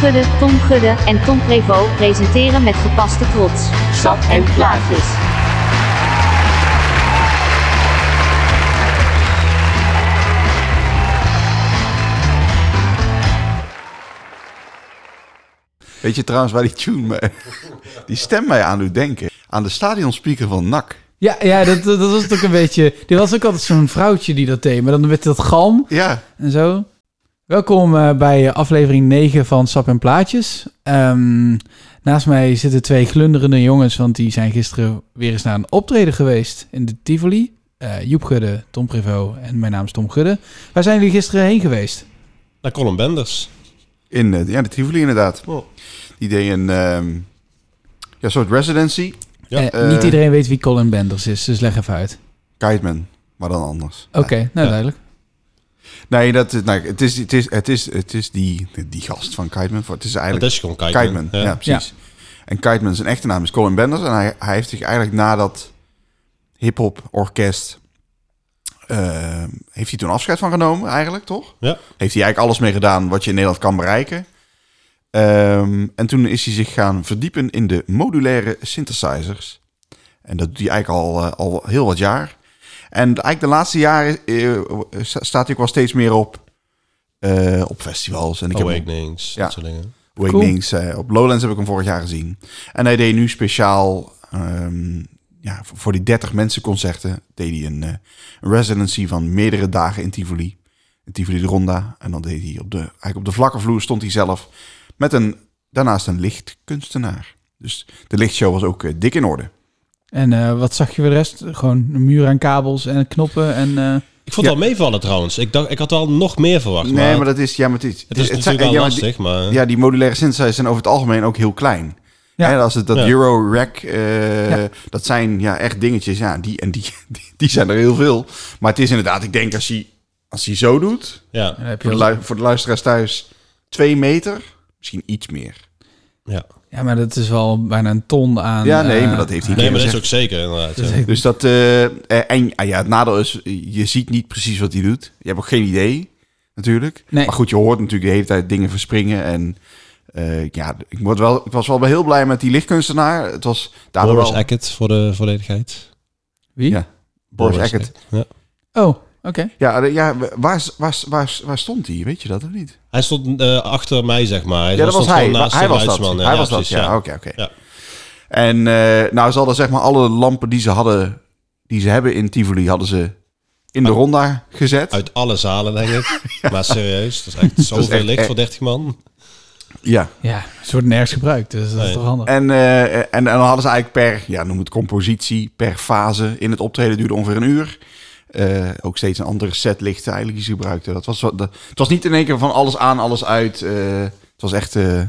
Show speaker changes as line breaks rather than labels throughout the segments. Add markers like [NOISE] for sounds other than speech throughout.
Gudde, Tom Gudde en Tom Prevost presenteren met gepaste trots.
Sap en plaatjes.
Weet je trouwens waar die tune me, die stem mij aan doet denken? Aan de stadionspeaker van NAC.
Ja, ja dat, dat dat was natuurlijk een beetje... Dit was ook altijd zo'n vrouwtje die dat deed. Maar dan werd dat galm
Ja,
en zo. Welkom eh, bij aflevering 9 van Sap en Plaatjes. Ehm, naast mij zitten twee glunderende jongens... want die zijn gisteren weer eens naar een optreden geweest in de Tivoli. Eh, Joep Gudde, Tom Prevost en mijn naam is Tom Gudde. Waar zijn jullie gisteren heen geweest?
Naar Colin Benders.
in eh, ja, de Tivoli inderdaad.
Oh.
Die deed een ehm, ja, soort residency.
Ja,
Eh, niet
eh,
iedereen weet wie Colin Benders is, dus leg even uit.
Kiteman, maar dan anders.
Oké, nou
Ja.
duidelijk.
Nee, dat, is- nou, het, is, het, is, het, is, het is die, die gast van Kiteman. Het is
dat
eigenlijk
is gewoon Kiteman.
Kiteman, ja, precies. En Kiteman, zijn echte naam is Colin Benders. En hij, hij heeft zich eigenlijk na dat hip-hop orkest. eh, heeft hij toen afscheid van genomen, eigenlijk toch?
Ja.
Heeft hij eigenlijk alles mee gedaan wat je in Nederland kan bereiken. Ehm, en toen is hij zich gaan verdiepen in de modulaire synthesizers. En dat doet hij eigenlijk al, eh, al heel wat jaar. En eigenlijk de laatste jaren eh, sta- staat hij ook wel steeds meer op, eh, op festivals.
Oh,
En ik heb hem-
Awakenings,
Ja.
dat soort dingen.
Awakenings. eh, op Lowlands heb ik hem vorig jaar gezien. En hij deed nu speciaal ehm, ja, voor, voor die 30 mensen concerten. Deed hij een eh, een residency van meerdere dagen in Tivoli. In Tivoli de Ronda. En dan deed hij op de, eigenlijk op de vlakke vloer stond hij zelf. Met een, daarnaast een lichtkunstenaar. Dus de lichtshow was ook eh, dik in orde.
En eh, wat zag je voor de rest? Gewoon een muur aan kabels en knoppen en... eh,
Ik vond het wel meevallen trouwens. Ik, dacht, ik had al nog meer verwacht.
nee,
maar,
maar dat is... Ja, maar het is,
het
het
is
zijn-
natuurlijk
ja,
wel
maar die-
lastig, maar...
Ja, die modulaire synthesizers zijn over het algemeen ook heel klein.
Ja.
Hè, als het dat
Ja.
Euro-rack, eh,
Ja.
dat zijn ja, echt dingetjes. Ja, die, en die, [LAUGHS] die, die zijn er heel veel. Maar het is inderdaad, ik denk als hij, als hij zo doet,
Ja,
dan heb je
voor de,
wel-
lu- voor de luisteraars thuis, twee meter, misschien iets meer.
ja.
Ja, maar dat is wel bijna een ton aan...
ja, nee,
eh,
maar dat heeft hij
Nee,
niet
maar dat
gezegd.
is ook zeker, inderdaad. ja.
Dus dat, eh, eh, en ah ja, het nadeel is, je ziet niet precies wat hij doet. Je hebt ook geen idee, natuurlijk.
Nee.
Maar goed, je hoort natuurlijk de hele tijd dingen verspringen. En eh, ja, ik, word wel, ik was wel heel blij met die lichtkunstenaar. Het was daardoor
Boris
wel...
Eckert voor de volledigheid.
Wie?
Ja. Boris Eckert.
Ja.
Oh, oké.
Ja, de- ja waar, is- waar, is- waar, is- waar stond hij? Weet je dat of niet?
Hij stond eh, achter mij, zeg maar. Hij
Ja, dat was
stond eh,
hij.
gewoon naast
Hij
de
was dat.
Leidsman.
Hij was dat,
precies,
ja. Oké, oké.
Ja.
En eh, nou, ze hadden zeg maar alle lampen die ze hadden, die ze hebben in Tivoli, hadden ze in de ronda gezet.
Uit alle zalen, denk ik.
[LAUGHS]
Maar serieus, dat is echt zoveel
echt- e-
licht
echt-
voor 30 man.
Ja.
Ja, ze wordt nergens gebruikt, dus dat is
Nee.
toch handig.
En, eh, en, en dan hadden ze eigenlijk per, ja, noem het compositie, per fase in het optreden duurde ongeveer een uur. Eh, ook steeds een andere set lichten eigenlijk die ze gebruikten. Dat was, wat- dat, het was niet in één keer van alles aan, alles uit. eh, het was echt... eh, eh,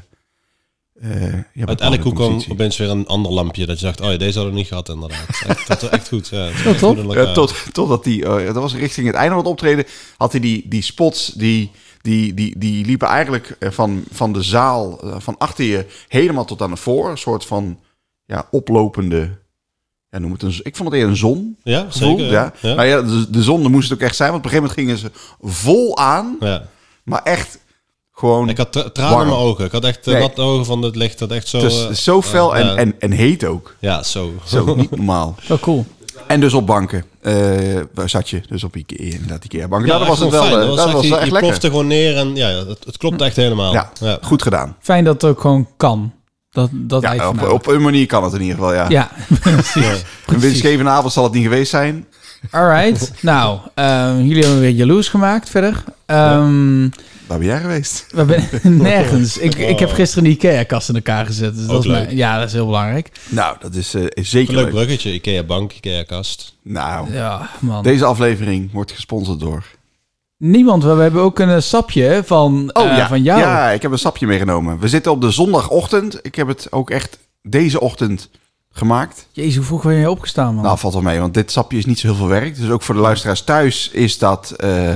ja,
Uit
bepaalde
elke hoek kwam
compositie.
opeens weer een ander lampje. Dat je dacht, oh ja, deze hadden we niet gehad, inderdaad. Echt, dat was echt goed. Ja, Het was echt
top.
goed in
Eh,
elkaar.
tot, totdat die, eh, dat was richting het einde van het optreden, had hij die, die spots, die, die, die, die liepen eigenlijk eh, van, van de zaal, eh, van achter je, helemaal tot aan de voor. Een soort van ja, oplopende, ja, noem het een, z- ik vond het eerder een zon.
Ja,
Gevoel,
zeker.
ja.
ja.
Nou ja, de, de zon, daar moest het ook echt zijn, want op een gegeven moment gingen ze vol aan,
ja.
maar echt gewoon...
Ik had tra- tranen
Warm.
in mijn ogen. Ik had echt eh,
Nee.
wat natte ogen van het licht. Dat echt zo...
het
eh,
is zo fel en,
ja.
en, en heet ook.
ja, zo. [LAUGHS]
Zo, niet normaal.
Wel Oh, cool.
En dus op banken. Eh, waar zat je? Dus op Ikea, inderdaad, Ikea-banken.
Ja,
nou, dat was het wel. eh, dat was
echt,
wel
je,
echt
je
lekker.
plofte gewoon neer en ja, het, het klopt echt helemaal.
Oh, Ja,
Ja.
goed gedaan.
Fijn dat het ook gewoon kan. Dat, dat hij
Ja, op,
vanavond-
op een manier kan het in ieder geval, ja.
Ja, [LAUGHS]
Ja.
een winstgevende avond zal het niet geweest zijn.
alright. nou, ehm, jullie hebben me weer jaloers gemaakt verder. Ehm
Waar ben jij geweest?
We
[LAUGHS]
ben nergens. Ik, ik heb gisteren die IKEA-kast in elkaar gezet. Dus dat
Oh. Ook
is mijn-
leuk.
ja, dat is heel belangrijk.
Nou, dat is, eh, is zeker
Leuk
leuk.
bruggetje. Ikea bank, Ikea kast.
Nou,
Ja, man.
deze aflevering wordt gesponsord door...
Niemand, we hebben ook een eh, sapje van, eh, van jou.
Oh, Ja, ik heb een sapje meegenomen. We zitten op de zondagochtend. Ik heb het ook echt deze ochtend gemaakt.
Jezus, hoe vroeg ben je opgestaan, man?
Nou, valt wel mee, want dit sapje is niet zo heel veel werk. Dus ook voor de luisteraars thuis is dat eh,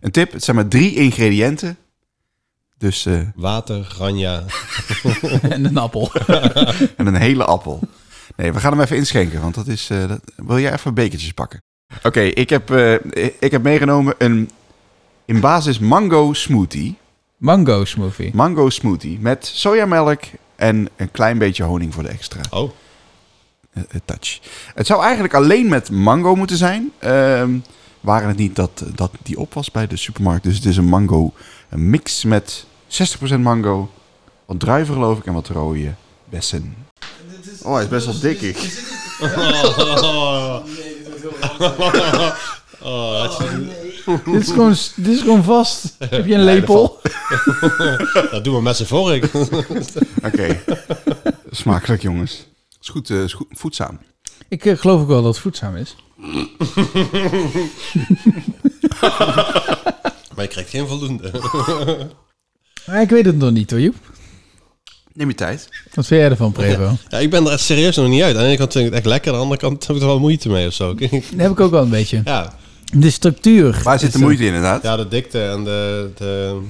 een tip. Het zijn maar drie ingrediënten. Dus, eh,
Water, granja.
en [LAUGHS] een appel.
en een hele [LAUGHS] appel. Nee, we gaan hem even inschenken, want dat is... eh, dat... Wil jij even bekertjes pakken? Oké, ik, heb, eh, ik heb meegenomen een in basis mango smoothie. [LAUGHS]
Mango smoothie.
Mango smoothie met sojamelk en een klein beetje honing voor de extra
Oh,
eh, eh, touch. Het zou eigenlijk alleen met mango moeten zijn. Ehm waren het niet dat, dat die op was bij de supermarkt. Dus het is een mango een mix met 60% mango, wat druiven geloof ik en wat rode bessen. Oh, hij is best wel dikkig.
dit, is gewoon, dit is gewoon vast. Heb je een lepel?
dat doen we met z'n vorig.
Oké. Smakelijk jongens. Is goed, eh, is goed voedzaam.
Ik eh, geloof ook wel dat het voedzaam is.
[LAUGHS] Maar je krijgt geen voldoende.
Maar ik weet het nog niet hoor, Joep.
Neem je tijd.
Wat vind jij ervan, Prevo?
Ja, ik ben er echt serieus nog niet uit. Aan de ene kant vind ik het echt lekker, aan de andere kant heb ik er wel moeite mee of zo. [LAUGHS]
Daar heb ik ook wel een beetje.
Ja,
De structuur.
Waar zit de
is, eh,
moeite in, inderdaad?
ja de dikte en de... de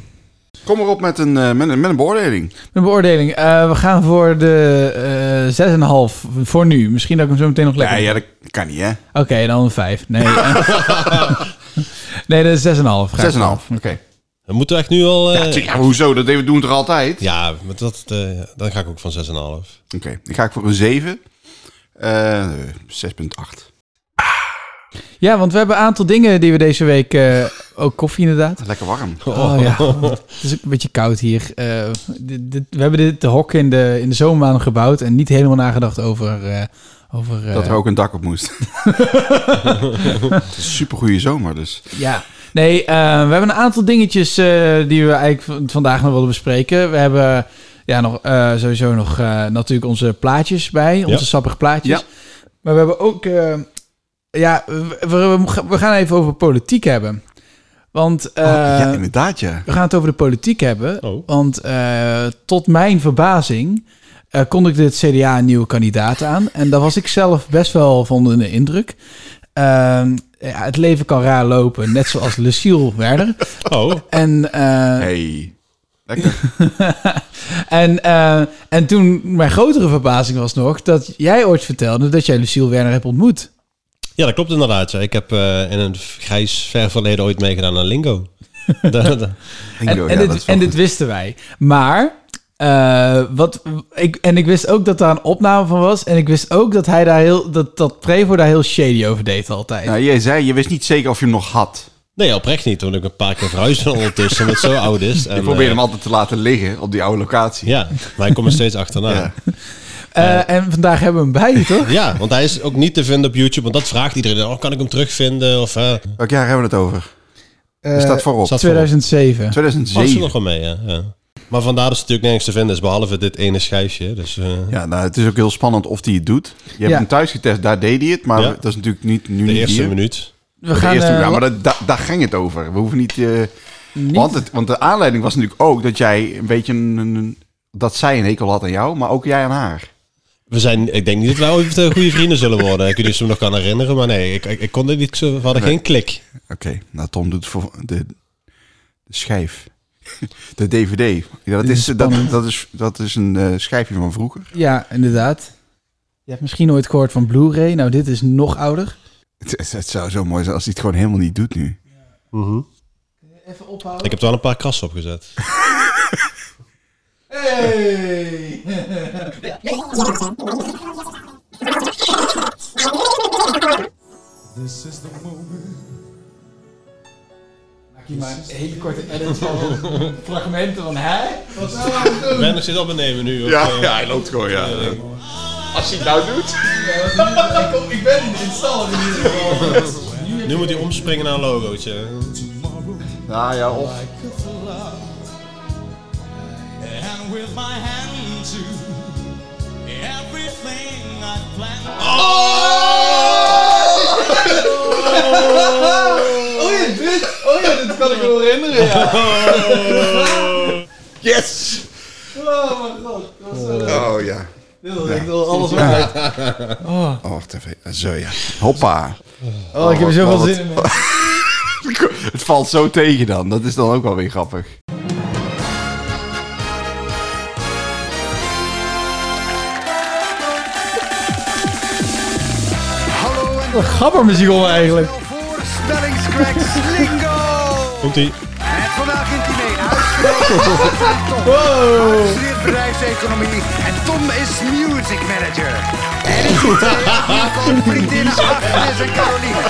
Kom erop met een, eh, met een, met een beoordeling.
Een beoordeling. Eh, we gaan voor de eh 6,5 voor nu. Misschien dat ik hem zo meteen nog
Ja,
lekker...
ja, dat kan niet, hè? 6,5.
Oké, dan een 5. Nee, eh. nee dat is 6,5. Graag.
Oké.
we moeten echt nu al... eh,
Ja, tuurlijk, ja, maar hoezo? Dat doen we toch altijd?
ja, maar dat, eh, dan ga ik ook van 6,5.
Oké, dan ga ik voor een 7. Eh, 6,8.
Ja, want we hebben een aantal dingen die we deze week... eh, ook koffie inderdaad.
Lekker warm.
Oh, ja, het is ook een beetje koud hier. Eh, dit, dit- we hebben dit, de hok in de, in de zomermaanden gebouwd... en niet helemaal nagedacht over... eh, over eh,
Dat er ook een dak op moest. Het is een supergoeie zomer, dus.
Ja. Nee, eh, we hebben een aantal dingetjes eh, die we eigenlijk v- vandaag nog willen bespreken. We hebben ja, nog, eh, sowieso nog eh, natuurlijk onze plaatjes bij, onze sappige plaatjes.
Ja.
Maar we hebben ook... eh, ja, we, we- we gaan even over politiek hebben. Want eh,
Oh, ja, inderdaad, ja.
we gaan het over de politiek hebben.
Oh.
Want eh, tot mijn verbazing eh kondigde het CDA een nieuwe kandidaat aan. En daar was ik zelf best wel van onder de indruk. Ehm, ja, het leven kan raar lopen, net zoals Lucille Werner.
Oh,
En, eh,
Hey. Lekker.
en, eh, en toen, mijn grotere verbazing was nog dat jij ooit vertelde dat jij Lucille Werner hebt ontmoet.
ja, dat klopt inderdaad. ja. Ik heb eh, in een grijs ver verleden ooit meegedaan aan Lingo. Da- da-
[LAUGHS] En,
Ringo,
en,
ja, dat
dit,
is wel
en
goed.
dit wisten wij. Maar, eh, wat, ik, en ik wist ook dat daar een opname van was. En ik wist ook dat hij daar heel, dat, dat Prevo daar heel shady over deed altijd.
Nou, jij zei, je wist niet zeker of je hem nog had.
Nee, oprecht niet. Toen ik een paar keer verhuisde ondertussen, met zo oud is. En,
Ik probeerde hem
eh,
altijd te laten liggen op die oude locatie.
Ja, maar ik kom er steeds achterna.
Ja.
Ja.
Eh, en vandaag hebben we hem
[LAUGHS]
bij je, toch?
want hij is ook niet te vinden op YouTube. Want dat vraagt iedereen. Oh, kan ik hem terugvinden? Of eh
Welk jaar hebben we het over? Er
Eh,
staat voorop.
staat-
2007.
past er
2007.
nog wel mee, hè? ja. Maar vandaar dat ze natuurlijk nergens te vinden is, behalve dit ene schijfje. Dus eh,
Ja, nou, het is ook heel spannend of hij het doet. Je hebt
Ja.
hem thuis getest, daar deed hij het. Maar
Ja.
dat is natuurlijk niet, nu
de
niet
eerste
hier.
minuut.
We
De
gaan,
eerste
eh,
minuut, maar dat, da- daar ging het over. We hoeven niet... eh,
niet-
Want, het, want de aanleiding was natuurlijk ook dat jij een beetje een, een- dat zij een hekel had aan jou, maar ook jij aan haar.
We zijn, ik denk niet dat wij ooit eh, goede vrienden zullen worden. Ik weet niet of ze me nog kan herinneren, maar nee, ik, ik, ik kon dit niet zo. We hadden geen klik.
Oké, nou Tom doet voor de, de schijf. De DVD. Ja, dat,
Dit
is,
is
dat,
spannend.
dat, is, dat is een eh, schijfje van vroeger.
Ja, inderdaad. Je hebt misschien nooit gehoord van Blu-ray. Nou, dit is nog ouder.
Het, het- het zou zo mooi zijn als hij het gewoon helemaal niet doet nu.
Even ophouden.
Ik heb er wel een paar krassen op gezet.
Hey!
This is the moment.
Maak hier maar een hele korte edit van fragmenten van hij.
Ik ben nog steeds op nemen nu. of, eh,
hij loopt gewoon, ja. Als hij het nou doet.
Ik ben in installer in ieder geval.
Nu moet hij omspringen naar een logootje.
Tomorrow,
Nou ja,
Oh,
of...
like a flower. And with my hand to everything I planned.
Oh ja, dit kan ik me wel herinneren. Ja.
Oh.
Yes!
Oh mijn god. Dat was, eh,
Oh ja.
dit was echt wel alles uit.
Oh, tv. Zo ja. Hoppa.
Oh, ik heb er zoveel zin in.
Het valt zo tegen dan. Dat is dan ook wel weer grappig.
Wat gabbermuziek eh, om eigenlijk.
Voorstellingscracks Lingo!
Komt hij?
En vandaag in Tina, huis Zeer bedrijfseconomie en Tom is music manager. En ik zit
[LAUGHS]
mijn vriendin Agnes en Caroline.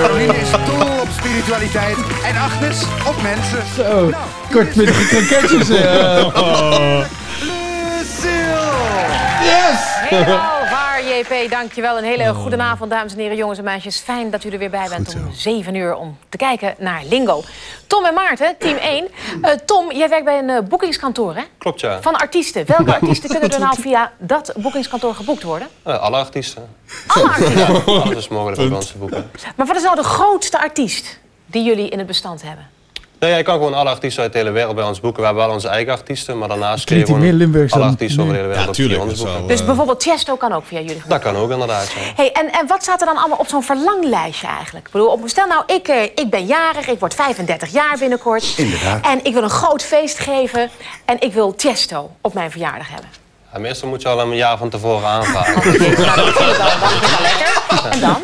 Caroline is dol op spiritualiteit en Agnes op mensen.
Zo,
Nou,
kort met die kroketjes. [LAUGHS]
Oh.
eh.
Lucille!
yes!
[LAUGHS]
Helemaal waar, JP. Dankjewel. Een hele
Oh.
goede avond, dames en heren, jongens en meisjes. Fijn dat u er weer bij bent om 7 uur om te kijken naar Lingo. Tom en Maarten, team 1. Eh, Tom, jij werkt bij een eh, boekingskantoor, hè?
Klopt ja.
Van artiesten.
[LAUGHS]
Welke artiesten kunnen er nou via dat boekingskantoor geboekt worden?
Eh, alle artiesten.
Alle artiesten.
Ja, alles is mogelijk met onze boeken.
Maar wat is nou de grootste artiest die jullie in het bestand hebben?
Nee, jij kan gewoon alle artiesten uit de hele wereld bij ons boeken. We hebben wel onze eigen artiesten, maar daarnaast kun je
Klinkt
gewoon
die meer Limburgs
alle
dan
artiesten
nu?
over de hele wereld
Ja,
op via
tuurlijk. dat
ons
is
boeken.
wel,
Dus
eh,
bijvoorbeeld Chesto kan ook via jullie.
Dat kan ook inderdaad. ja.
Hey, en, en wat staat er dan allemaal op zo'n verlanglijstje eigenlijk? Ik bedoel, op- stel nou, ik, eh, ik ben jarig, ik word 35 jaar binnenkort.
Inderdaad.
En ik wil een groot feest geven en ik wil Tiesto op mijn verjaardag hebben.
En meestal moet je al een jaar van tevoren
[LAUGHS]
aanvragen.
Nou, dat vind ik wel, dat vind ik wel lekker. En dan?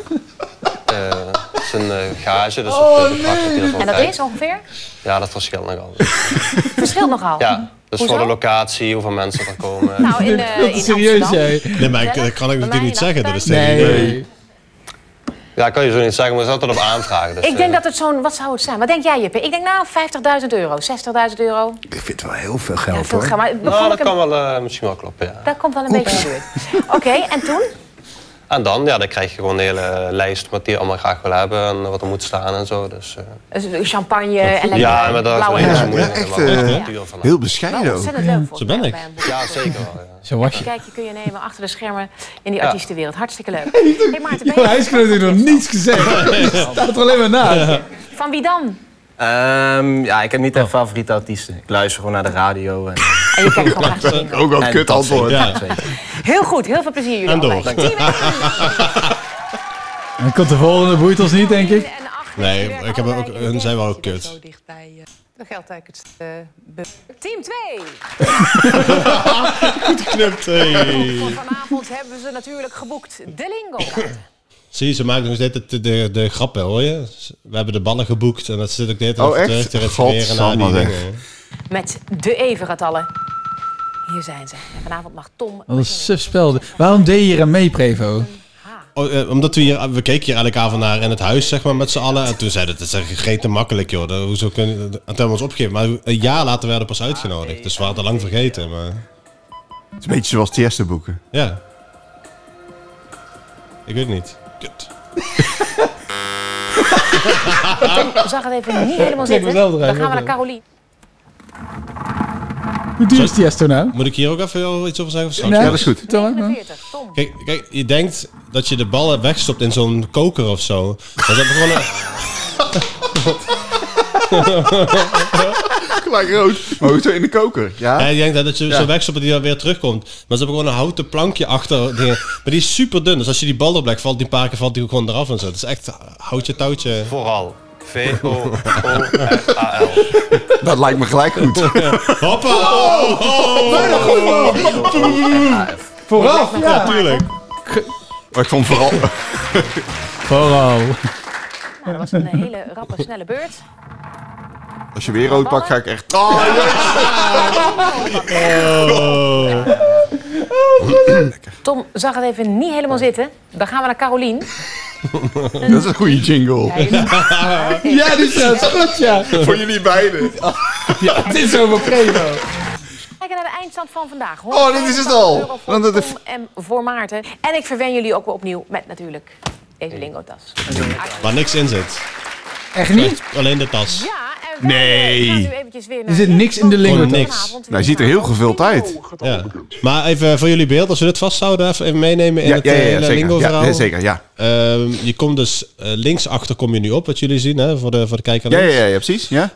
Eh, Het is een eh, gage, dus oh, dat nee.
En dat is ongeveer?
Ja, dat verschilt nogal.
Verschilt nogal.
Ja, dus
Hoezo?
voor de locatie, hoeveel mensen er komen.
Nou, in, eh,
Dat
in
is serieus,
Amsterdam.
jij.
Nee, maar ik, dat kan ik
Bij
natuurlijk
mij
niet zeggen. Dat is
dacht
tegen
Nee.
Ja, kan je zo niet zeggen, maar het is altijd op aanvragen. Dus,
Ik denk
eh,
dat het zo'n, wat zou het zijn? Wat denk jij, Jippe? Ik denk nou 50.000 euro, 60.000 euro.
Ik vind het wel heel veel
Ja,
geld
veel geld,
hoor.
maar het begon
Nou,
ik
dat
een-
kan wel eh, misschien wel kloppen, ja.
dat komt wel een beetje in de buurt. Oké, en toen?
En dan, ja, dan krijg je gewoon een hele lijst wat die allemaal graag wil hebben en wat er moet staan en zo. Dus, eh,
Dus Champagne en lekker
ja, maar dat
blauwe
is
wijn.
heel
Ja,
moeilijk.
ja, echt,
maar wel
eh,
een duur van
Heel bescheiden
Wel
ook.
ontzettend leuk voor
zo ben ik.
Bij een boek.
Ja, zeker wel. Ja.
Zo was je.
Kijkje kun je nemen achter de schermen in die
Ja.
artiestenwereld. Hartstikke leuk. Hey Maarten, ben je-
Jouw huisgenoot heeft nog niets
[LAUGHS]
gezegd. Er staat er alleen maar na.
Van wie dan?
Ehm, ja, ik heb niet echt favoriete artiesten. Ik luister gewoon naar de radio. En,
[LAUGHS]
En je kijkt gewoon achter de schermen.
Ook wel een
en
kut
dat
antwoord.
zeker,
Ja.
zeker.
Heel goed, heel veel plezier jullie
En
allebei.
door.
Team
En dan komt de volgende, boeit ons niet, denk ik.
en Agnes,
Nee,
die werken
ik heb
allebei
ook-
in
hun
de
zijn wel
derde.
kut. Zo
Dan geldt eigenlijk het Team 2.
Knipt, hey.
Voor vanavond hebben ze natuurlijk geboekt de lingo. [COUGHS]
Zie je, ze maken nog steeds de, de, de grappen, hoor je? We hebben de ballen geboekt en dat zit ook de hele tijd
Oh, echt?
terug te refereren naar die
Godsamme, zeg.
dingen.
Met de evengetallen. Hier zijn ze. En vanavond mag Tom...
Wat een sufspel. Waarom deed je hier aan mee, Prevo?
Oh, eh, omdat we hier, we keken hier elke avond naar in het huis, zeg maar, met z'n allen. En toen zeiden we, dat is echt geen te makkelijk, joh. Dat- Hoezo kunnen, dat- en toen hebben we ons opgegeven. Maar een jaar later werden we pas uitgenodigd. Dus we hadden lang vergeten, maar
Het is een beetje zoals de eerste boeken.
ja. Ik weet het niet. Kut.
Ik zag het even niet helemaal zitten.
mezelf
Dan
eruit,
gaan we
hoor.
naar Carolien.
Hoe duur is die Esto nou?
Moet ik hier ook even iets over zeggen? Of straks?
Nee.
Ja, dat is goed.
Tom, hè?
40. Tom.
Kijk, kijk, je denkt dat je de ballen wegstopt in zo'n koker of zo. Maar ze hebben gewoon een...
Gelijk rood. Maar ook zo in de koker.
Ja,
Ja?
ik denk dat dat je zo wegstopt dat die dan weer terugkomt. Maar ze hebben gewoon een houten plankje achter dingen. Maar die is super dun. Dus als je die bal oplegt, valt die een paar keer valt die gewoon eraf en zo. Het is echt houtje touwtje.
Vooral. oh, V-O-O-R-A-L.
Dat lijkt me gelijk goed.
Hoppa! Oh, [LAUGHS]
Vooraf, ja.
Natuurlijk.
[LAUGHS] Maar ik vond vooral...
Vooral.
Nou, dat was een hele rappe, snelle beurt.
Als je weer rood pakt, ga ik echt... Oh, Oh.
Tom zag het even niet helemaal zitten. Dan gaan we naar Carolien.
dat is een goede jingle.
[LAUGHS]
Ja, die staat goed, ja.
Voor jullie beiden.
Het is over Prevo.
Kijken naar de eindstand van vandaag.
Oh, dit is het al.
150 euro Voor
Want dat
Tom en voor Maarten. En ik verwen jullie ook weer opnieuw met natuurlijk deze lingotas.
[LAUGHS] Waar niks in zit.
Echt niet?
Alleen de tas.
Ja, en wij nee. gaan nu eventjes weer naar...
Er zit niks in de
Lingo.
Gewoon
lingo.
niks.
Nou, hij ziet er heel gevuld uit.
Ja. Maar even voor jullie beeld, als we dit vasthouden, even even meenemen in
Ja,
het
ja,
eh,
ja, ja,
hele
zeker.
lingo-verhaal.
Ja, ja, zeker, ja.
Ehm, je komt dus eh, linksachter kom je nu op, wat jullie zien, hè, voor de, voor de kijker
Ja,
links.
ja, ja, ja, precies. Ja?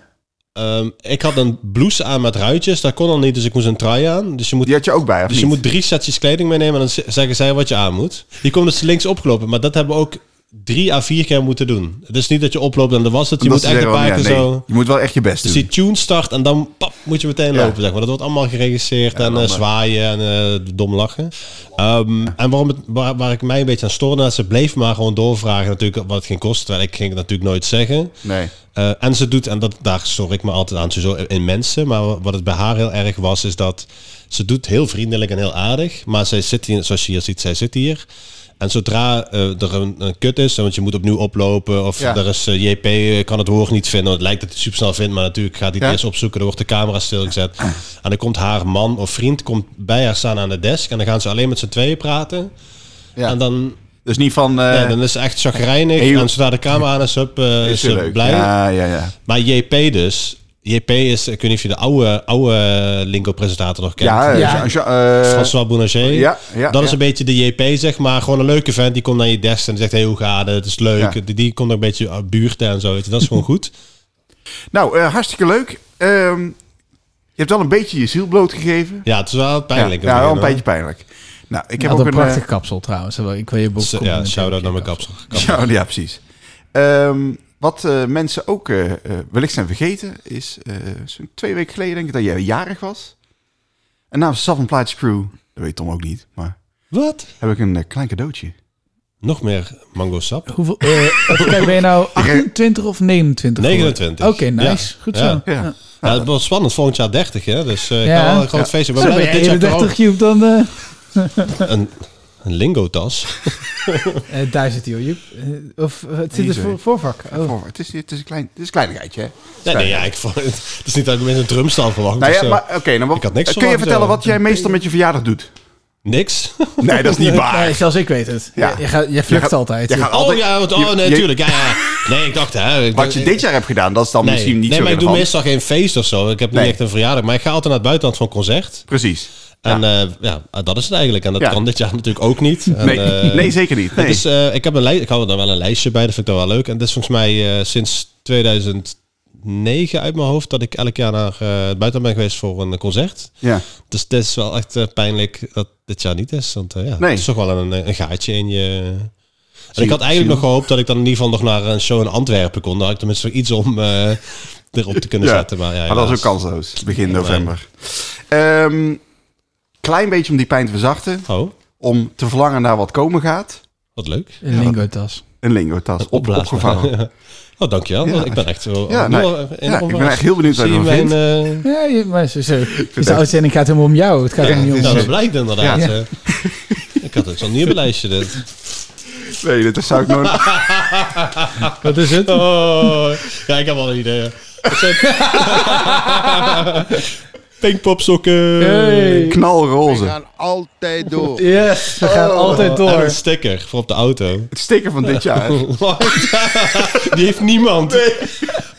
Ehm, ik had een blouse aan met ruitjes, dat kon al niet, dus ik moest een trui aan. Dus je moet
Die had je ook bij, of
Dus je
niet?
moet drie setjes kleding meenemen en dan z- zeggen zij wat je aan moet. Je komt dus links opgelopen, maar dat hebben we ook drie à vier keer moeten doen. Het is niet dat je oploopt en dat was het. Je
Omdat
moet
ze
echt een
zeggen
paar
van,
keer
ja, nee,
zo...
Je moet wel echt je best
Dus
doen.
die tune start en dan pap, moet je meteen
Ja.
lopen. Zeg maar. Dat wordt allemaal geregisseerd en, eh, zwaaien en eh, dom lachen. Ehm, En waarom het, waar, waar ik mij een beetje aan stoorde, dat ze bleef maar gewoon doorvragen natuurlijk wat het ging kosten. Terwijl ik ging het natuurlijk nooit zeggen.
Nee.
Eh, en ze doet, en dat, daar stoor ik me altijd aan sowieso in mensen. Maar wat het bij haar heel erg was, is dat ze doet heel vriendelijk en heel aardig. Maar zij zit hier, zoals je hier ziet, zij zit hier. En zodra eh, er een, een kut is, want je moet opnieuw oplopen. Of
Ja.
er is eh, JP eh, kan het woord niet vinden. want Het lijkt dat hij het super snel vindt, maar natuurlijk gaat hij het
Ja.
eerst opzoeken. Dan wordt de camera stilgezet. En dan komt haar man of vriend komt bij haar staan aan de desk. En dan gaan ze alleen met z'n tweeën praten.
Ja.
En dan,
Dus niet van... eh,
ja, dan is ze echt chagrijnig.
heel-
en zodra de camera aan is, hup, eh,
is
is
weer
ze
leuk.
blij.
Ja, ja, ja.
Maar JP dus. JP is, ik weet niet of je de oude, oude Lingo-presentator nog kent.
Ja, eh,
Ja.
Jean- Jean- eh,
François Boulanger.
ja, ja,
dat is
ja.
een beetje de JP, zeg maar. Gewoon een leuke vent. Die komt naar je desk en zegt, hey, hoe gaat het? Het is leuk.
Ja.
Die, die komt ook een beetje uit buurten en zo. Weet je. Dat is gewoon goed.
Nou, eh, hartstikke leuk. Ehm, je hebt wel een beetje je ziel blootgegeven.
Ja, het is wel pijnlijk.
Ja, ja,
aan
wel
het
een
begin,
beetje pijnlijk. Nou, ik heb
had
ook
een
een...
prachtig
eh,
kapsel trouwens. Ik wil je boek
hoor. Ja, shout-out naar mijn kapsel.
ja, ja, precies. Ehm, wat eh, mensen ook eh, eh, wellicht zijn vergeten is... eh, zo'n twee weken geleden denk ik dat jij jarig was. En namens Saf en Plaatje Crew, dat weet Tom ook niet, maar
Wat?
heb ik een eh, klein cadeautje.
Nog meer mango sap.
Hoeveel, eh, even kijken, ben je
[LAUGHS]
nou 28 of 29? geworden?
29.
Oké, nice.
Ja.
Goed
Ja.
zo. Ja.
Ja.
Ja, het wordt spannend. Volgend jaar 30, hè? Dus eh, ik
Ja.
ga wel een groot feestje. We
Zo, ben
hebben
jij
dit jaar
31 Joep dan... eh
corona- een, een lingo-tas.
eh, daar zit hij hoor, Joep. Eh, of eh, het zit
Hier
dus
zo.
voor, voorvak. Oh.
Oh, het, is, het, is een klein, het is een kleinigheidje, hè?
Nee, nee, ja, ik vond, het is niet dat ik met een drumstel verwacht. dus, eh,
Nou
of
ja,
zo.
maar oké, nou, wat-
Ik had niks
kun je
verwacht, eh.
vertellen
ja.
wat jij meestal met je verjaardag doet?
Niks. [LAUGHS]
Nee, dat is niet
[LAUGHS] Nee,
waar.
zelfs ik weet het.
Ja.
Je, je, gaat, je vlucht
gaat-
altijd.
je
Joep.
gaat
Oh
altijd-
ja, want, oh
je-
nee,
je-
tuurlijk. Ja, ja. Nee, ik dacht hè. ik-
Wat je dit jaar hebt gedaan, dat is dan
Nee,
misschien niet
nee,
zo
maar ik doe
relevant.
meestal geen feest of zo. Ik heb
Nee.
niet echt een verjaardag. Maar ik ga altijd naar het buitenland voor een concert.
Precies.
En eh, ja, dat is het eigenlijk. En dat
Ja.
kan dit jaar [LAUGHS] natuurlijk ook niet. En,
Nee,
eh,
nee zeker niet. Nee.
Het is, eh, ik, heb een lijst, ik hou er dan wel een lijstje bij, dat vind ik dan wel leuk. En dat is volgens mij eh, sinds 2009 uit mijn hoofd dat ik elk jaar naar eh, het buitenland ben geweest voor een concert.
ja.
Dus het is wel echt eh, pijnlijk dat dit jaar niet is. Want eh, ja,
Nee.
het is toch wel een, een gaatje in je... En
Ziel-
ik had eigenlijk nog
ziel.
gehoopt dat ik dan in ieder geval nog naar een show in Antwerpen kon. Dan had ik tenminste iets om eh, erop te kunnen
Ja.
zetten. Maar, ja,
Maar dat is ook
helaas.
kansloos, begin november. Ehm, klein beetje om die pijn te verzachten.
Oh,
Om te verlangen naar wat komen gaat.
wat leuk.
Een lingotas.
Een lingotas. Op, opgevouwen.
[LAUGHS] Oh, dankjewel.
Ja,
want ik ben echt wel...
Ja, nee. Ja, ik ben echt heel benieuwd wat
Zie
je
je
ervan
mijn...
vindt.
eh,
Ja, je, maar zo, zo. Dus
het
de
ook-
uitzending gaat helemaal om jou. Het gaat
Ja,
helemaal niet om
het
ons.
Nou, dat blijkt inderdaad.
Ja.
eh. [LAUGHS] ik had het zo'n nieuw lijstje. Dit.
Nee, dat zou ik nooit...
Wat is het?
Oh, ja, ik heb al een idee. ja. Het zijn- [LAUGHS] Pinkpopsokken.
Hey.
We
Knalroze.
gaan altijd door.
Yes, Oh. we gaan altijd
En een
door.
sticker voor op de [LAUGHS] auto.
Het sticker van dit jaar.
[LAUGHS] Die heeft niemand.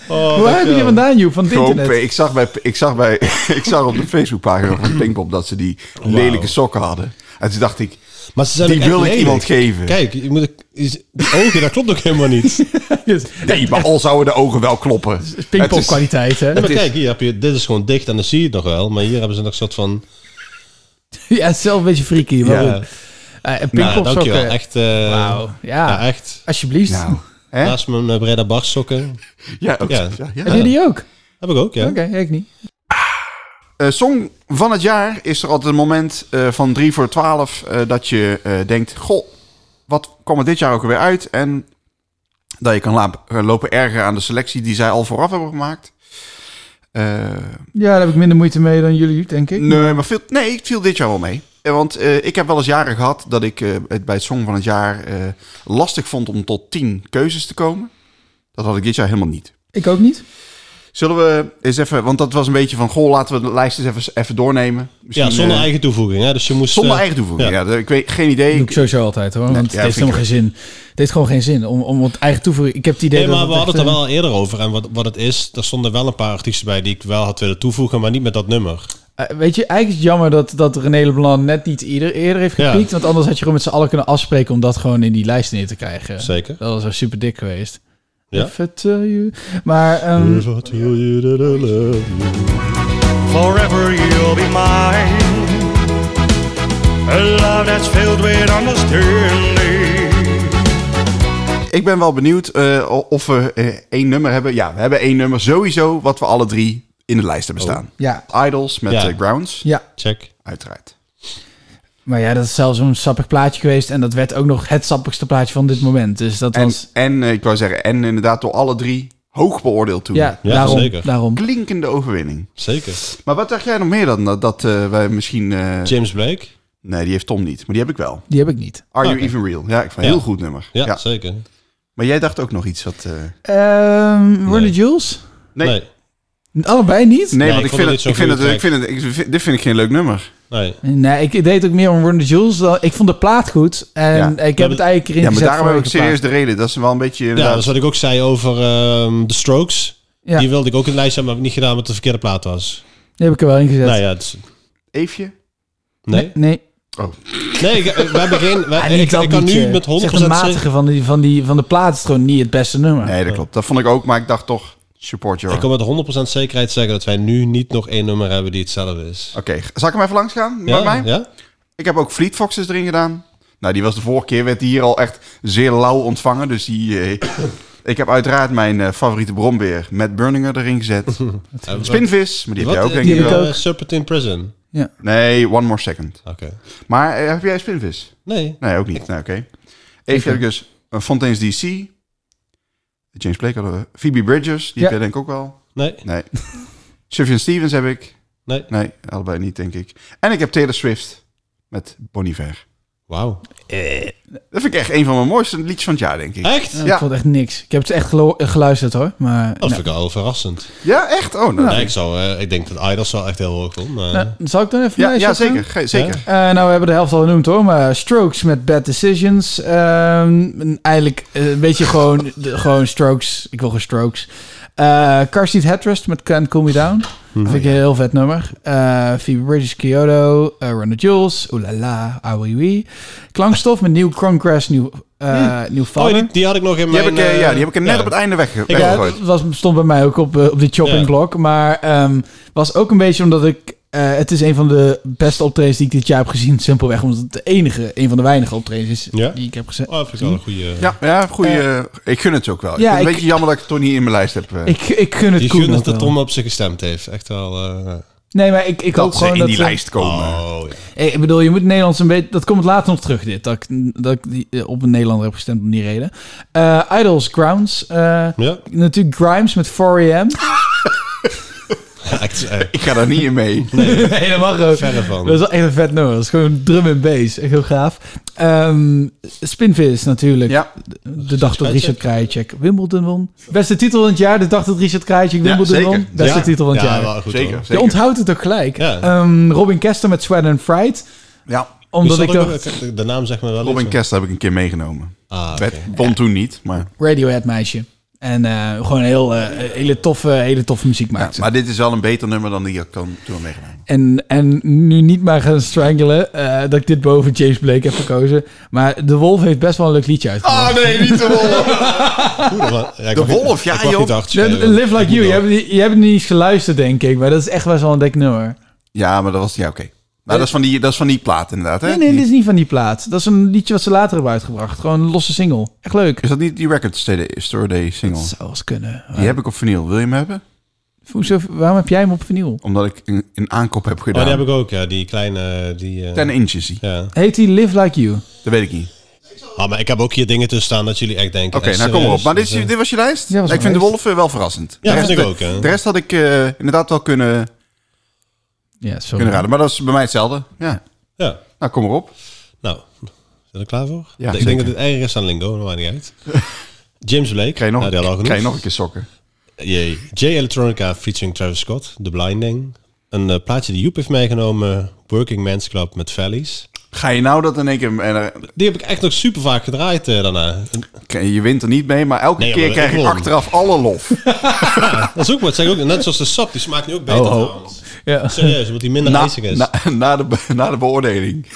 Oh,
Hoe heb je die
dankjewel.
vandaan, Joep? Van het
Gewoon,
internet?
ik zag, bij, ik, zag bij, [LAUGHS] ik zag op de Facebookpagina van Pinkpop dat ze die lelijke sokken hadden. En toen dacht ik,
Maar ze zijn
Die
ook echt
wil ik
lelijk.
iemand geven.
Kijk, je moet, is- die ogen, dat klopt ook helemaal [LAUGHS] niet.
[LAUGHS]
nee, maar al zouden de ogen wel kloppen. Het
Pinkpop
is-
kwaliteit, hè?
Nee, maar kijk, hier heb je, dit is gewoon dicht en dan zie je het nog wel. Maar hier hebben ze nog een soort van...
[LAUGHS] Ja, het is wel een beetje freaky, maar
Ja.
goed. Eh, en
Nou,
Pinkpop
dankjewel.
sokken.
Echt, eh,
Wauw. Ja.
ja, echt.
Alsjeblieft.
Nou, hè?
Naast mijn eh, Breda Bar sokken.
Ja, ook- ja.
Ja.
ja,
Heb je die ook?
Heb ik ook, eh, ja.
Oké, ik niet.
Eh, song van het jaar is er altijd een moment eh, van 3 voor 12 eh, dat je eh, denkt: Goh, wat kwam er dit jaar ook alweer uit? En dat je kan la- eh, lopen erger aan de selectie die zij al vooraf hebben gemaakt. Eh,
Ja, daar heb ik minder moeite mee dan jullie, denk ik.
nee, Eh, maar veel, nee, het viel dit jaar wel mee. Eh, Want eh, ik heb wel eens jaren gehad dat ik eh, het bij het Song van het jaar eh, lastig vond om tot 10 keuzes te komen. Dat had ik dit jaar helemaal niet.
Ik ook niet.
Zullen we eens even, want dat was een beetje van: Goh, laten we de lijst eens even, even doornemen.
Ja,
Misschien,
zonder
eh,
eigen toevoeging. Hè? Dus je moest,
Zonder
eh,
eigen toevoeging. Ja.
ja.
ik weet geen idee.
doe ik sowieso altijd hoor,
Nou,
want
ja,
het heeft
vind ik
helemaal geen zin. Het heeft gewoon geen zin om, om het eigen toevoeging. Ik heb het idee
Nee, maar
dat
we
het
hadden het
echt, eh,
er wel eerder over. En wat, wat het is, er stonden wel een paar artiesten bij die ik wel had willen toevoegen, maar niet met dat nummer.
eh, eh, weet je, eigenlijk is het jammer dat, dat René Leblanc net niet ieder, eerder heeft
Ja.
gepiekt. Want anders had je gewoon met z'n allen kunnen afspreken om dat gewoon in die lijst neer te krijgen.
Zeker.
Dat was wel super dik geweest.
Ja. Mm.
If I tell you. Maar ehm,
Forever you'll be mine. A love that's filled with understanding.
Ik ben wel benieuwd eh, of we eh, één nummer hebben. Ja, we hebben één nummer sowieso wat we alle drie in de lijst hebben staan.
Ja.
Idols met
Oh. Ja.
eh, Grounds.
Ja.
Check.
Uiteraard.
Maar ja, dat is zelfs een sappig plaatje geweest. En dat werd ook nog het sappigste plaatje van dit moment. Dus dat
En,
was...
en eh, ik wou zeggen, en inderdaad door alle drie hoog beoordeeld toen.
Ja,
Ja,
daarom,
zeker.
daarom.
Klinkende overwinning.
Zeker.
Maar wat dacht jij nog meer dan dat, dat eh, wij misschien... eh,
James Blake?
nee, die heeft Tom niet, maar die heb ik wel.
Die heb ik niet.
Are
Oké.
You Even Real? Ja, ik vond een
Ja.
heel goed nummer.
Ja,
Ja.
zeker.
Maar jij dacht ook nog iets wat... eh,
Ehm Ronnie
Nee.
Jules?
Nee.
Nee. nee.
Allebei niet?
Nee,
ik
want ik
vond het
vind het-
niet zo'n
ik vind het-
goede
ik vind het... ik vind- Dit vind ik geen leuk nummer.
Nee, ik deed ook meer om Ronnie Jules. dan- Ik vond de plaat goed. En
Ja.
ik heb het eigenlijk erin
Ja, maar
gezet
daarom heb ik
vorige
serieus
plaat.
de reden. Dat is wel een beetje...
Ja, dat
Inderdaad,
is dus wat ik ook zei over ehm The Strokes.
Ja,
Die wilde ik ook in de lijst hebben, maar heb ik niet gedaan omdat het de verkeerde plaat was.
die heb ik er wel in gezet.
Nou ja, het is-
Eefje?
nee.
Nee.
Nee, ik- eh, we hebben geen...
[LAUGHS]
we-
Ah, niet
ik,
dat
ik kan
liedje.
nu met 100%
Zeg, de
zeker-
matige van, die, van, die, van de plaat is gewoon niet het beste nummer.
Nee, dat klopt. Dat vond ik ook, maar ik dacht toch... Support your...
Ik
Oké,
kan met 100% zekerheid zeggen dat wij nu niet nog één nummer hebben die hetzelfde is.
zal ik hem even langs gaan?
Ja?
Bij mij?
Ja?
Ik heb ook Fleet Foxes erin gedaan. Nou, die was de vorige keer, werd die hier al echt zeer lauw ontvangen. Dus die... eh, ik heb uiteraard mijn eh, favoriete bron weer met Burninger erin
[LAUGHS]
gezet.
Eh,
Spinvis, maar die heb jij
wat-
ook
eh,
denk ik
die,
wel.
eh, Serpent in Prison.
Nee, One More Second.
Oké.
Maar eh, heb jij Spinvis?
Nee.
Nee, ook niet. Nou, oké. Even heb ik dus eh, Fontaine's DC. James Blake hadden we. Phoebe Bridgers, die
Ja.
heb jij denk ik ook wel.
Nee.
Nee. [LAUGHS] Sufjan Stevens heb ik.
Nee.
Nee, allebei niet, denk ik. En ik heb Taylor Swift met Bon Iver.
Wauw.
Dat vind ik echt een van mijn mooiste liedjes van het jaar, denk ik.
Echt?
Ja,
Ja.
Ik vond echt niks. Ik heb het echt gelo- geluisterd hoor. Maar
Dat
nou.
vind ik al verrassend.
Ja, echt? Oh, nou.
Nee, ik, zou, eh, ik denk dat Idols wel echt heel hoog komt. maar- Oh,
Nou, zal ik dan even
Ja,
mijn
ja,
lijstje
zeker.
doen?
Ge- zeker.
Ja.
Eh, nou, we hebben de helft al genoemd hoor, maar Strokes met Bad Decisions. Ehm, en eigenlijk eh, een beetje gewoon, de- gewoon Strokes. Ik wil gewoon Strokes. Eh Car Seat Headrest met Can't Cool Me Down. Dat vind ik een heel vet nummer. Eh Phoebe Bridges, Kyoto, eh Run the Jewels, Ooh La La, Ah Wee Wee. Klankstof met New Congress, New, eh New
Oh,
Father.
die, die had ik nog in
Die
mijn...
heb, ik, eh,
eh,
ja, die heb ik er net
ja.
op het einde wegge-
Ja,
weggegooid.
dat was, stond bij mij ook op, eh, op die chopping
Ja.
block. Maar ehm, was ook een beetje omdat ik... eh, het is een van de beste optredens die ik dit jaar heb gezien. Simpelweg omdat het de enige, een van de weinige optredens is
Ja.
die ik heb gezet.
Oh, dat vind ik wel een goede...
Ja, ja goeie, eh, ik gun het ze ook wel.
ja,
ik vind het
ik-
een beetje jammer dat ik het toch niet in mijn lijst heb. eh.
Ik, ik gun het
Die
Koen
gun
ook
dat de
wel.
Tom op ze gestemd heeft. Echt wel... eh,
Nee, maar ik, ik hoop
dat ze
gewoon
in
dat...
die
ze-
lijst komen.
oh, ja.
Eh, Ik bedoel, je moet Nederlands een beetje... Dat komt later nog terug, dit. Dat ik, dat ik die, eh, op een Nederlander heb gestemd om die reden. Eh, Idols, Grounds. eh,
Ja,
natuurlijk Grimes met 4AM.
echt eh,
Ik ga daar niet in mee.
nee, dat mag ook.
verre van.
Dat is wel echt een vet nummer. Dat is gewoon drum en bass. Echt heel gaaf. Ehm Spinvis natuurlijk.
Ja,
De dag dat Richard Krajicek Wimbledon won. Beste titel van het jaar. De dag dat Richard Krajicek Wimbledon
zeker.
won. Beste
Ja.
titel van het
ja,
jaar.
wel goed
zeker.
hoor.
Je
zeker.
onthoudt het ook gelijk.
Ja.
Ehm, Robin Kester met Sweat and Fright.
Ja,
Omdat
Wie
ik
zat ook
dacht...
nog? De naam zegt me wel
Robin
iets.
Kester heb ik een keer meegenomen.
Ah, oké.
Het won toen niet, maar...
Radiohead meisje. En eh, gewoon heel, eh, hele, toffe, hele toffe muziek maakt. ze.
Maar dit is wel een beter nummer dan die ik toen toen had meegenomen.
En, en nu niet maar gaan strangelen eh, dat ik dit boven James Blake heb gekozen. Maar De Wolf heeft best wel een leuk liedje uitgebracht.
Ah,
nee, niet de wolf.
Oeh, dat wa- ja, ik
De
mag niet-
Wolf, ja,
ik mag
joh.
niet hard
Nee,
schreeuwen.
Live Like You, je hebt, niet- je hebt niet eens geluisterd, denk ik. Maar dat is echt best wel een dik nummer.
Ja, maar dat was... Ja, oké. Nou, dat is, van die, dat is van die plaat inderdaad, hè?
Nee, nee, dit is niet van die plaat. Dat is een liedje wat ze later hebben uitgebracht. Gewoon een losse single. Echt leuk.
Is dat niet die Record Store- Store Day
Dat eh,
single?
zou wel eens kunnen.
Die heb ik op vinyl. Wil je hem hebben?
Hoezo, waarom heb jij hem op vinyl?
Omdat ik een, een aankoop heb
Oh,
gedaan.
die heb ik ook, ja. Die kleine... Die, eh,
10 inches, die.
ja.
Heet die Live Like You?
Dat weet ik niet.
Ah, maar ik heb ook hier dingen tussen staan dat jullie echt denken... eh,
Oké, nou kom maar op. Maar dit, is- dit was je lijst?
Ja, was
ik
mijn
vind de
lijst.
wolf eh, wel verrassend.
Ja,
de
vind
rest,
ik ook, hè.
De rest had ik eh, inderdaad wel kunnen,
Ja,
kunnen
sorry.
raden. Maar dat is bij mij hetzelfde. Ja.
Ja,
Nou, kom maar op.
nou. Zijn we er klaar voor?
Ja,
ik
zeker.
denk dat het erger is dan Lingo, maar maakt niet
[LAUGHS]
uit. James Blake.
Krijg je nog,
nou, die hadden we al genoemd.
krijg je nog een keer sokken.
Jee. J Electronica featuring Travis Scott, The Blinding. Een eh, plaatje die Joep heeft meegenomen, Working Man's Club met Valleys.
Ga je nou dat in één keer... En, er-
Die heb ik echt nog super vaak gedraaid eh, daarna.
je wint er niet mee, maar elke
Nee,
keer
maar
krijg
ik
ik
won.
achteraf alle
[LAUGHS]
lof.
Dat is ook wat, zeg ik ook. Net zoals de sap, die smaakt nu ook beter
Oh, oh.
trouwens.
Ja.
Serieus, omdat die minder
na,
ijzig is.
na, na, de, be- na de beoordeling.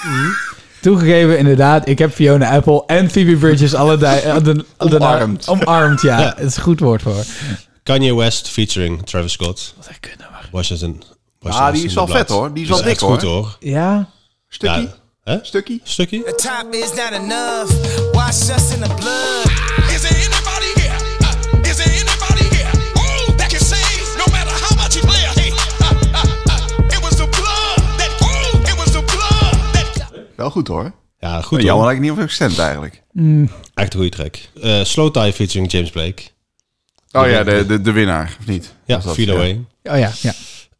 Toegegeven, inderdaad. Ik heb Fiona Apple en Phoebe Bridges allebei... eh, de- de-
Omarmd.
Omarmd, ja.
Ja.
Het is een goed woord voor.
Kanye West featuring Travis Scott,
Wat een kutnummer.
Washington. Washington
Ah, die is wel
Blad.
vet hoor. Die is wel
Dus echt
dik
goed
hoor.
hoor.
Ja.
Stukkie?
Ja. Hè?
Stukkie?
The
Stukje?
top is not enough. Wash us in the blood. Is it
Uh, uh,
goed hoor.
Ja, goed
Jammer
hoor.
dat ik niet op heb gestemd eigenlijk.
Echt een goede track. Eh, Slow Tie featuring James Blake.
Oh ja, de, de, de winnaar, of niet?
Ja,
Was dat,
Feel Away.
Oh ja, ja.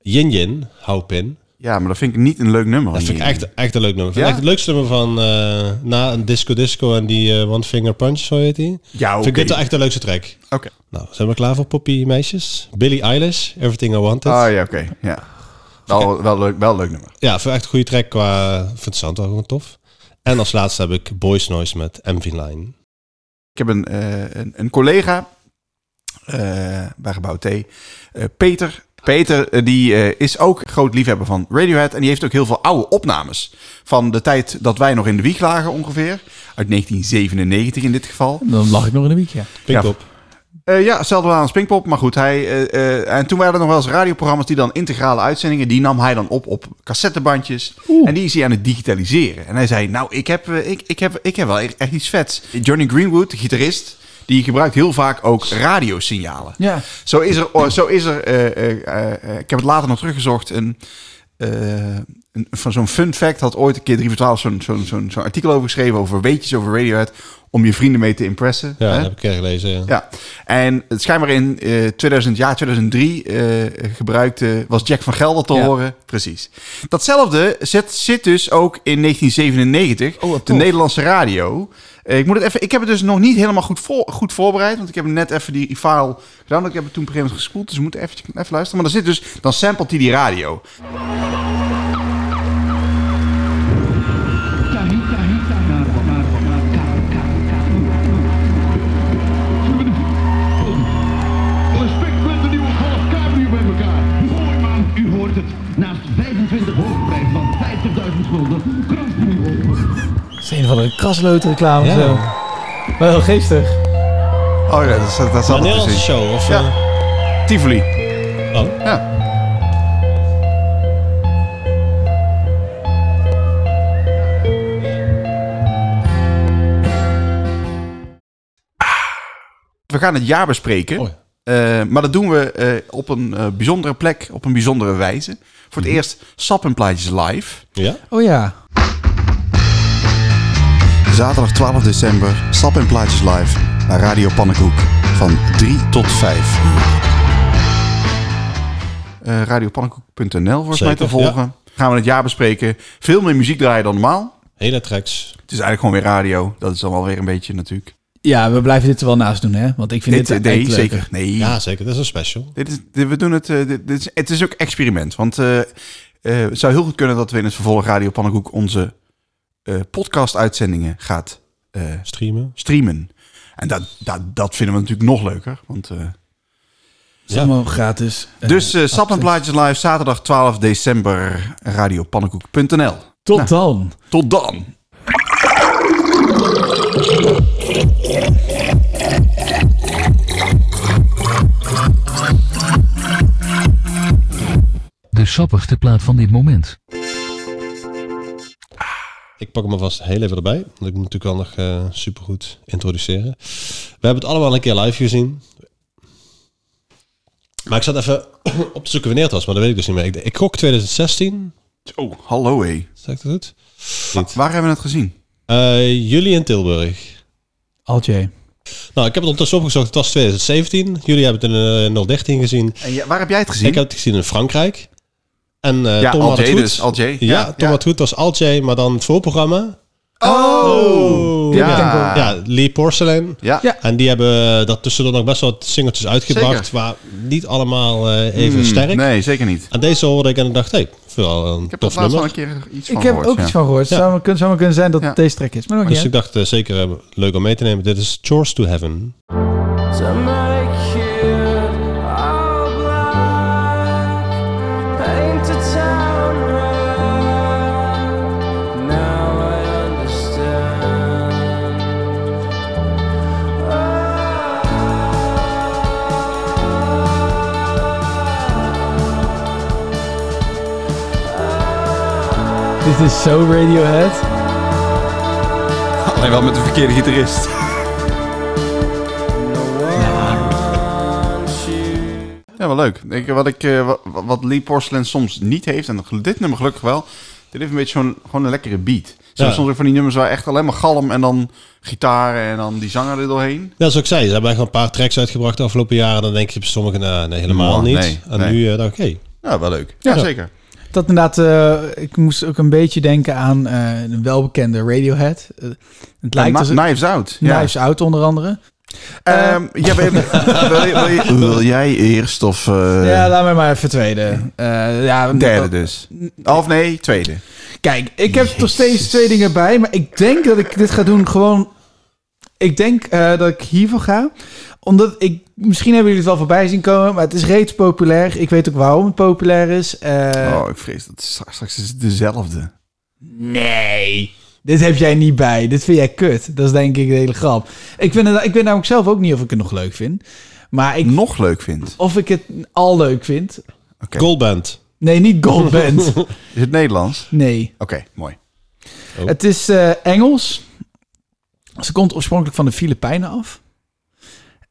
Yin Yin, Haupin.
Ja, maar dat vind ik niet een leuk nummer.
Dat vind ik echt, echt een leuk nummer. Vind ik
Oh, Ja?
Echt het leukste nummer van eh, na een Disco Disco en die eh, One Finger Punch, zo heet die.
Ja, oké.
Vind ik dit wel echt de leukste track.
Oké.
Nou, zijn we klaar voor Poppy meisjes? Billie Eilish, Everything I Wanted.
Ah ja, oké. Ja. Wel, wel, leuk, wel leuk nummer.
Ja, vind ik echt een goede track qua... Vind het sound wel gewoon tof. En als laatste heb ik Boys Noise met MV Line.
Ik heb een, eh, een, een collega eh, bij Gebouw T, eh, Peter. Peter eh, die eh, is ook groot liefhebber van Radiohead. En die heeft ook heel veel oude opnames. Van de tijd dat wij nog in de wieg lagen ongeveer. Uit 1997 in dit geval.
Dan lag ik nog in een weekje.
Pink
Ja.
op.
Eh, ja, hetzelfde wel aan als Pinkpop. Maar goed, hij, eh, eh, en toen waren er nog wel eens radioprogramma's die dan integrale uitzendingen. Die nam hij dan op op cassettebandjes. En die is hij aan het digitaliseren. En hij zei, nou, ik heb, eh, ik, ik heb, ik heb wel echt echt iets vets. Johnny Greenwood, de gitarist, die gebruikt heel vaak ook radiosignalen.
Ja.
Zo is er, oh, zo is er eh, eh, eh, eh, ik heb het later nog teruggezocht, een, eh, een, van zo'n fun fact had ooit een keer 3 voor 12 zo'n zo'n zo'n zo'n artikel over geschreven, over weetjes over Radiohead, om je vrienden mee te impressen.
Ja,
hè?
dat heb ik een keer gelezen. Ja.
Ja, en het schijnbaar in eh 2000, jaar 2003 eh, gebruikte, was Jack van Gelder te
Ja.
horen. Precies. Datzelfde zit, zit dus ook in 1997
Oh, wat
op de
tof.
Nederlandse radio. Eh, ik, moet het even, ik heb het dus nog niet helemaal goed, voor, goed voorbereid, want ik heb net even die file gedaan. Ik heb het toen op een gegeven moment gespoeld, dus we moeten even, even luisteren. Maar dan zit dus, dan samplet hij die radio.
Respect met de nieuwe Golf Cabrio bij elkaar. Mooi man, u hoort het. Naast 25 hoofdprijs van 50.000 gulden, krant nu open.
Dat is een van de krasloodreclame
Ja.
of zo. Wel heel geestig.
Oh ja, dat, dat, dat
Een
zat er
Nederlandse
dus in.
show, of...
Ja.
eh,
Tivoli.
oh.
Ja. We gaan het jaar bespreken.
Oh ja.
Eh, maar dat doen we eh, op een eh, bijzondere plek, op een bijzondere wijze. Voor het
Mhm.
eerst Sap en Plaatjes live.
eh, Ja?
Oh ja.
Zaterdag 12 december, Sap en Plaatjes live. Naar Radio Pannenkoek van 3 tot 5 Eh Radiopannenkoek.nl volgens mij te
Zeker, ja.
volgen. Gaan we het jaar bespreken. Veel meer muziek draaien dan normaal.
Hele tracks.
Het is eigenlijk gewoon weer radio. Dat is dan wel weer een beetje natuurlijk.
Ja, we blijven dit er wel naast doen, hè? Want ik vind dit,
eh,
echt
nee,
leuker.
zeker. Nee.
Ja, zeker. Dat is een special.
Dit is, dit- we doen het. eh, dit, dit is, het is ook experiment. Want eh, eh, het zou heel goed kunnen dat we in het vervolg Radio Pannenkoek onze eh, podcast-uitzendingen gaat eh,
Streamen.
streamen. En dat, dat, dat vinden we natuurlijk nog leuker. Want, eh,
Het is allemaal gratis. Eh,
dus eh, Sap en
absoluut.
Plaatjes Live, zaterdag 12 december, radiopannenkoek.nl.
Tot dan.
Tot dan!
De sappigste plaat van dit moment.
Ik pak hem alvast heel even erbij. Want ik moet natuurlijk wel nog eh, supergoed introduceren. We hebben het allemaal een keer live gezien. Maar ik zat even [COUGHS] op te zoeken wanneer het was. Maar dat weet ik dus niet meer. Ik, ik gok 2016.
Oh, hallo hé.
Zeg ik dat goed?
Wa- Waar hebben we het gezien?
Eh, jullie in Tilburg.
Altje.
Nou, ik heb het ondertussen opgezocht. Het was 2017. Jullie hebben het in eh, 013 gezien.
En ja, waar heb jij het gezien?
Ik heb het gezien in Frankrijk. En eh,
ja,
Tom had
Al
het
J
goed.
dus. Al J.
Ja, Tom had het goed. Het was Al J, maar dan het voorprogramma.
Oh! Ja.
ja. ja, Lee Porcelain.
Ja.
Ja.
En die hebben daartussendoor nog best wel wat singeltjes uitgebracht,
Zeker.
waar niet allemaal eh, even
Hmm,
sterk.
Nee, zeker niet.
En deze hoorde ik en ik dacht, hé, hey, wel een
Ik heb
tof
er laatst
nummer.
wel een keer iets van
Ik heb
gehoord,
ook
ja.
iets van gehoord.
Ja.
Zou maar kunnen, zou maar kunnen zijn dat
Ja.
het deze track is. Maar nog niet.
Dus ik dacht, eh, zeker eh, leuk om mee te nemen. Dit is Chores to Heaven.
hè? Dit is zo Radiohead.
Alleen wel met de verkeerde gitarist. Ja, wel leuk. Ik, wat, ik, eh, wa- wat Lee Porcelain soms niet heeft, en dit nummer gelukkig wel, Dit heeft een beetje zo'n gewoon een lekkere beat. Zo
Ja.
soms ook van die nummers waar echt alleen maar galm en dan gitaren en dan die zanger er doorheen.
Ja, zoals ik zei, ze hebben echt wel een paar tracks uitgebracht de afgelopen jaren. Dan denk je bij sommigen, nou, nee, helemaal
Nou,
niet.
nee,
en
nee.
nu, eh, nou, oké.
Ja, wel leuk. Ja, zeker.
Dat inderdaad, eh, ik moest ook een beetje denken aan eh, een welbekende Radiohead. Eh, het lijkt
Ma-
als
Knives Out, ja.
Knives Eh. Out onder andere.
Ehm, ja, wil,
[LAUGHS]
je- wil je- wil je- [LAUGHS] wil jij eerst of... eh,
ja, laat mij maar even tweede. Eh, ja,
Derde dus. Of nee, tweede.
Kijk, ik heb er steeds twee dingen bij, maar ik denk dat ik dit ga doen gewoon... Ik denk eh, dat ik hiervoor ga. Omdat ik... Misschien hebben jullie het wel voorbij zien komen, maar het is reeds populair. Ik weet ook waarom het populair is. Eh,
oh, ik vrees dat straks, straks is het dezelfde.
Nee. Dit heb jij niet bij. Dit vind jij kut. Dat is denk ik de hele grap. Ik, vind het, ik weet namelijk zelf ook niet of ik het nog leuk vind. Maar ik...
Nog leuk vind?
Of ik het al leuk vind.
Goldband.
Nee, niet Goldband.
Is het Nederlands?
Nee.
Oké, mooi.
Het is eh, Engels. Ze komt oorspronkelijk van de Filipijnen af.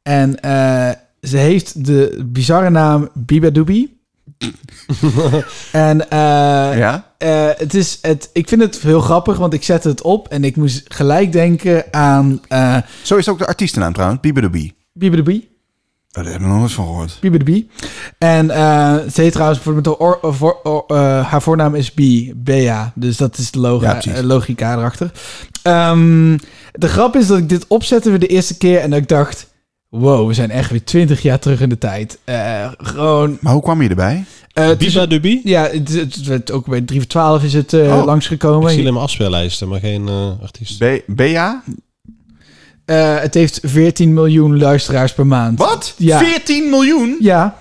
En eh, ze heeft de bizarre naam Biba Doobie. en eh,
Ja?
eh, het is het, ik vind het heel grappig, want ik zette het op en ik moest gelijk denken aan eh
Zo is ook de artiestennaam trouwens, Bieber de Bee.
Biba Doobie.
Daar hebben we nog nooit van gehoord.
Biba de Bie. En eh, ze heet trouwens, voor- met de or- of- or- or- eh, haar voornaam is Bie, Bea. Dus dat is de
Ja,
loga,
precies.
eh, logica erachter. Ehm, de grap is dat ik dit opzette weer de eerste keer en dat ik dacht... Wow, we zijn echt weer twintig jaar terug in de tijd. Eh, gewoon...
Maar hoe kwam je erbij?
eh, het is-
Biba Dubi?
Ja, het, het werd ook bij 3 voor 12 is het eh,
Oh, Ik
langsgekomen.
zie alleen maar afspeellijsten, maar geen eh, artiest.
Be Bea?
Eh, het heeft 14 miljoen luisteraars per maand.
Wat?
Ja.
14 miljoen?
Ja.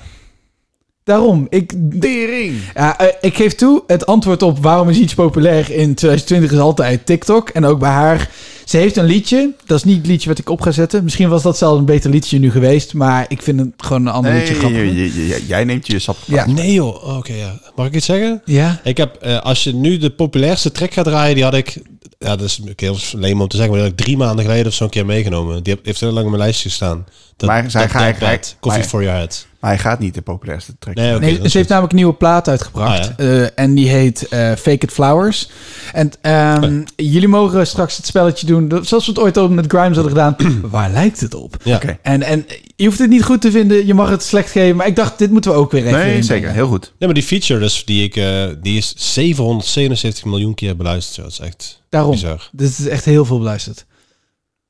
Daarom. Ik,
Tering.
Ja, eh, ik geef toe, het antwoord op waarom is iets populair in 2020 is altijd TikTok. En ook bij haar. Ze heeft een liedje. Dat is niet het liedje wat ik op ga zetten. Misschien was dat zelfs een beter liedje nu geweest. Maar ik vind het gewoon een ander
Nee,
liedje grappig.
je- je- je- jij neemt je sap.
Ja.
Nee joh, Oh, oké ja. Mag ik iets zeggen?
Ja.
Ik heb, eh, als je nu de populairste track gaat draaien, die had ik, ja dat is ook heel leem om te zeggen, maar die had ik drie maanden geleden of zo'n keer meegenomen. Die heb- heeft heel lang op mijn lijstje gestaan. Dat,
Maar zij
dat-
ga-
dat
ga-
band, Coffee
maar-
for Your Head.
Maar hij gaat niet de populairste track.
Nee, oké,
Nee,
dat is
ze heeft namelijk een nieuwe plaat uitgebracht.
Ah,
eh, en die heet eh, Fake It Flowers. En ehm, jullie mogen straks het spelletje doen. dat- Zoals we het ooit ook met Grimes hadden gedaan. Waar lijkt het op?
Ja.
Oké.
En, en je hoeft het niet goed te vinden. Je mag het slecht geven. Maar ik dacht, dit moeten we ook weer even
Nee,
inbrengen.
zeker. Heel goed.
Nee, maar die feature dus, die, ik, eh, die is 777 miljoen keer beluisterd. zo. Dat is echt
Daarom.
bizar.
Dit is echt heel veel beluisterd.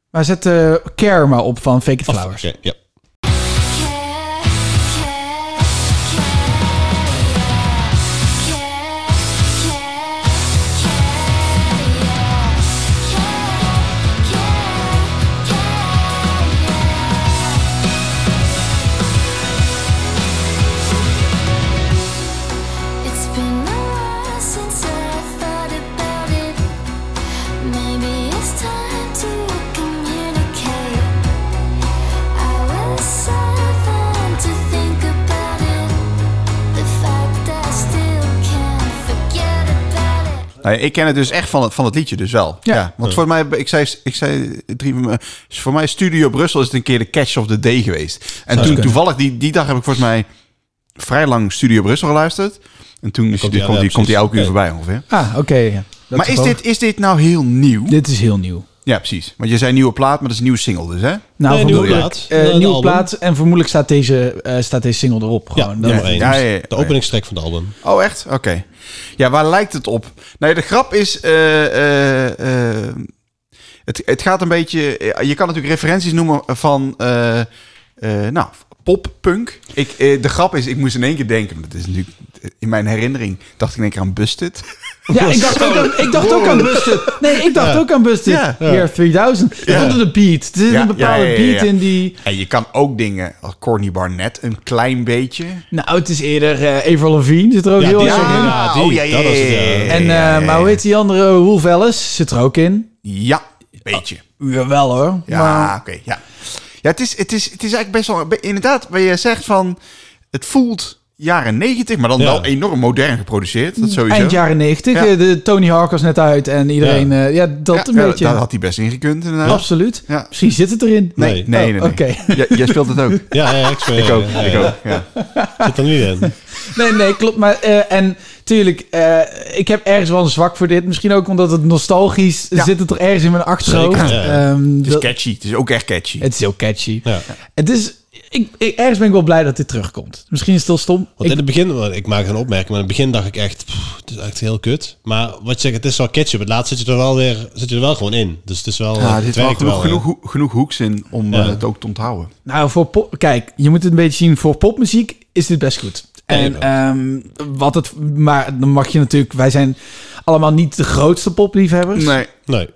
Maar zet eh Care maar op van Fake It
Of-
Flowers. Oh,
oké, ja.
It's been a while since I thought about it. Maybe it's time to communicate. I was seven to think about it. The fact I still can't forget about it.
Nou, ik ken het dus echt van het, van het liedje, dus wel. Ja.
Ja.
want voor mij, ik zei, ik zei drie, voor mij Studio Brussel is het een keer de Catch of the Day geweest. En toen
kunnen.
toevallig, die, die dag heb ik volgens mij vrij lang Studio Brussel geluisterd. En toen is
komt
die,
die-
komt,
ja,
die, komt die elke uur
precies.
voorbij ongeveer.
Ah, oké. ja. Dat
maar is
ook-
dit, is dit nou heel nieuw?
Dit is heel nieuw.
Ja, precies. Want je zei nieuwe plaat, maar dat is een nieuwe single dus, hè?
Nou,
Nee, nieuwe
vermoedelijk.
plaat.
eh,
Een
nieuwe
album.
plaat. En vermoedelijk staat deze, eh, staat deze single erop.
Ja,
Gewoon. Dat-
nummer 1.
Ja, ja, ja.
De openingstrek van het album.
Oh, echt? Oké. Ja, waar lijkt het op? Nee, de grap is... eh, eh, eh, het, het gaat een beetje... eh, Je kan natuurlijk referenties noemen van... eh, eh, nou, pop-punk. Ik, eh, de grap is, ik moest in één keer denken... want Het is natuurlijk... eh, In mijn herinnering dacht ik in één keer aan Busted. [LAUGHS]
Ja, ik dacht ook aan, ik dacht ook aan Busted. Nee, ik dacht ook aan Busted.
Ja.
Year 3000.
Ja.
Ja. Onder de beat. Er zit
Ja,
een bepaalde
ja, ja, ja, ja.
beat in die...
En je kan ook dingen als Corny Barnett een klein beetje.
Nou, het is eerder eh Avril Lavigne zit er ook
Ja,
heel
die
erg
is ook
in.
heel- Oh, ja, die, dat was het, ja.
En, eh, maar hoe heet die andere? Eh, Wolf Ellis zit er ook in.
Ja, beetje.
Jawel hoor.
Ja, oké. ja. ja, het is, het, is, het is eigenlijk best wel... Inderdaad, wat je zegt van... Het voelt jaren 90, maar dan
Ja.
wel enorm modern geproduceerd. Dat sowieso.
Eind jaren 90.
Ja.
eh, De Tony Hawk was net uit en iedereen... eh, Ja, dat
Ja,
een
ja,
beetje.
Daar had hij best in gekund, inderdaad.
Absoluut. Misschien zit het erin.
Nee, nee, nee. nee.
Oh, Oké. [LAUGHS]
J- jij speelt het ook.
Ja,
[LAUGHS]
ja, ik speel-
Ik ook,
ja, ja,
ik
ja.
ook. Ja.
Zit er nu in.
Nee, nee, klopt. Maar, eh, en tuurlijk, eh, ik heb ergens wel een zwak voor dit. Misschien ook omdat het nostalgisch zit het er ergens in mijn achterhoofd.
Zeker, ja.
Ehm,
Het is
dat-
catchy. Het is ook echt catchy.
Het is heel catchy.
[LAUGHS]
het is, ik, ik- ergens ben ik wel blij dat dit terugkomt. Misschien is het heel stom.
Want
Ik-
in het begin, want ik maak een opmerking, maar in het begin dacht ik echt, pff, het is echt heel kut. Maar wat je zegt, het is wel catchy, maar laatst zit je er wel weer, zit je er wel gewoon in. Dus het is wel,
Ja, er
het
zit wel
werkt
genoeg,
hè.
genoeg, ho- genoeg hoeks in om
Ja.
eh, het ook te onthouden.
Nou, voor pop, kijk, je moet het een beetje zien. Voor popmuziek is dit best goed. En ehm, wat het, maar dan mag je natuurlijk, wij zijn allemaal niet de grootste popliefhebbers.
Nee.
Nee.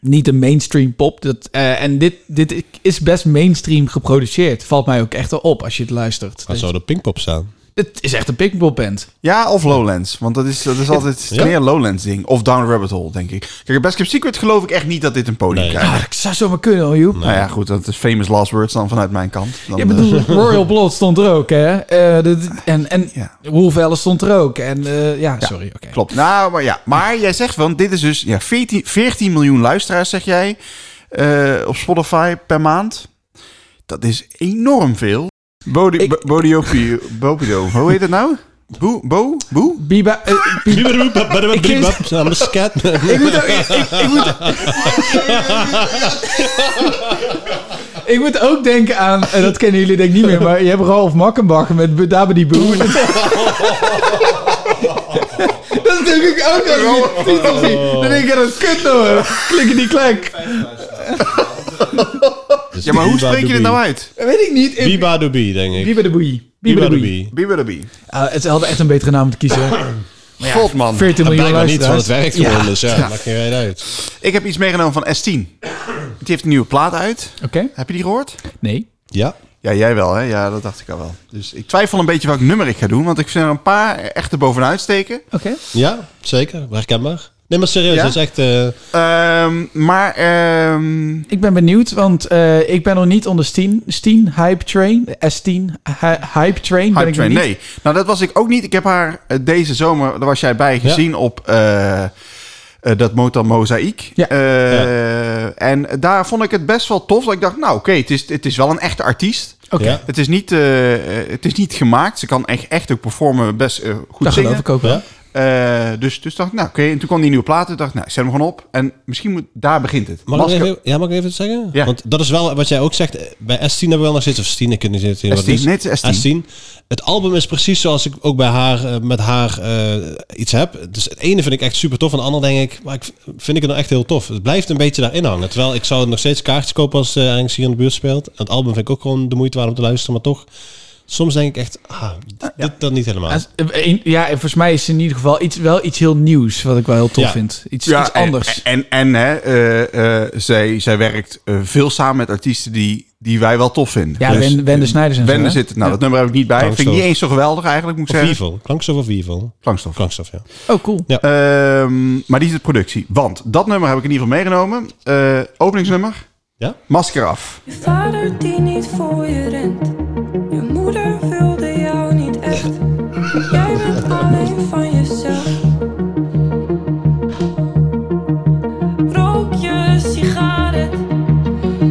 Niet de mainstream pop. Dat, eh, en dit, dit is best mainstream geproduceerd. Valt mij ook echt wel op als je het luistert. Dus
Dan zou de Pinkpop staan.
Het is echt een pickpop band.
Ja, of Lowlands. Want dat is, dat is altijd het is
Ja.
meer Lowlands ding. Of Down Rabbit Hole, denk ik. Kijk, Best Kept Secret geloof ik echt niet dat dit een podium krijgt.
Ik Ah, zou zo maar kunnen, hoor, Joep.
Nou ja, goed. Dat is famous last words dan vanuit mijn kant. Dan,
Ik bedoel,
eh,
Royal Blood stond er ook, hè? Eh, dit- en en Wolf Alice stond er ook. En eh, ja, sorry. oké.
[LAUGHS] Klopt. Nou, maar ja. Maar jij zegt van, dit is dus ja, 14, 14 miljoen luisteraars, zeg jij, eh, op Spotify per maand. Dat is enorm veel. Bodi, Bo- Bodiopio- Bobido, hoe heet het nou? Boe, boe, boe?
Biba,
Ik [LAUGHS]
geef-
I'm a scat man.
Ik moet ook- ik- ik- ik moet-
Ik moet ook denken aan, en dat kennen jullie denk ik niet meer, maar je hebt Ralf Makkenbach met B- Dabadi Boe. dat is natuurlijk ook een titel. zie. Dan denk ik, dat is kut hoor. Klikken die klek.
Ja, maar hoe spreek je dit nou uit?
Dat Eh, weet ik niet. Ik-
Biba Doobie, denk ik.
Biba de Boei.
Biba
Biba de
Doobie.
Boei.
Biba de Bie.
Ah, het ze hadden echt een betere naam te kiezen. Maar ja,
God, man.
14 miljoen
Blijkbaar niet, want
luisteraars.
het werkt gewoon, dus ja, maakt geen reet uit.
Ik heb iets meegenomen van S10. Die heeft een nieuwe plaat uit.
Oké.
Heb je die gehoord?
Nee.
Ja.
Ja, jij wel, hè? Ja, dat dacht ik al wel. Dus ik twijfel een beetje welk nummer ik ga doen, want ik vind er een paar echt er bovenuit steken.
Oké.
Ja, zeker. Herkenbaar. Nee, maar serieus,
Ja?
dat is echt... eh,
maar... ehm,
Ik ben benieuwd, want eh, ik ben nog niet onder Steen, Steen Hype Train. S10 hy- Hype Train. ben
Hype Train,
ik nog niet.
nee. Nou, dat was ik ook niet. Ik heb haar eh, deze zomer, daar was jij bij, gezien op eh, eh, dat Motor Mozaïek. Eh, En daar vond ik het best wel tof. Dat ik dacht, nou oké, het, is, het is wel een echte artiest.
Oké. Ja.
Het, is niet, eh, eh, het is niet gemaakt. Ze kan echt, echt ook performen best eh, goed
Dat
zingen.
geloof ik ook wel. Ja.
Eh, dus, dus dacht ik, nou oké. En toen kwam die nieuwe plaat. Toen dacht ik, nou, ik zet hem gewoon op. En misschien moet, daar begint het.
Mag ik,
Masker-
even, ja, mag ik even iets zeggen?
Ja.
Want dat is wel wat jij ook zegt. eh, Bij S10 hebben we wel nog steeds... Of S10, ik weet niet eens wat het
S10,
is.
nee, het is S10.
S10. Het album is precies zoals ik ook bij haar, eh, met haar eh, iets heb. Dus het ene vind ik echt super tof. En het andere denk ik... Maar ik v- vind ik het nou echt heel tof. Het blijft een beetje daarin hangen. Terwijl ik zou nog steeds kaartjes kopen als eh ergens hier in de buurt speelt. En het album vind ik ook gewoon de moeite waard om te luisteren. Maar toch... Soms denk ik echt, ah, dit, dit- dat
Ah.
niet helemaal.
Als- eh, een- Ja, en volgens mij is het in ieder geval iets, wel iets heel nieuws, wat ik wel heel tof
Ja.
vind. Iets,
Ja, eh,
iets
en-
anders.
En, en, hè, eh, eh, zij, zij werkt eh, veel samen met artiesten die, die wij wel tof vinden. Dus eh,
Ja, Wende- Wende Snijders en zo,
Wende
hè?
zit, nou,
Ja. Oh,
dat nummer heb ik niet bij.
Klankstof.
Vind ik niet eens zo geweldig eigenlijk, moet ik
Of
zeggen.
Weevil. Klankstof of Weevil?
Klankstof.
Klankstof, ja.
eh.
Oh, cool.
Ehm, maar die is de productie. Want dat nummer heb ik in ieder geval meegenomen. Eh, openingsnummer.
Ja?
Masker af.
Je vader die niet voor je rent. Je moeder wilde jou niet echt. Jij bent alleen van jezelf. Rook je sigaret.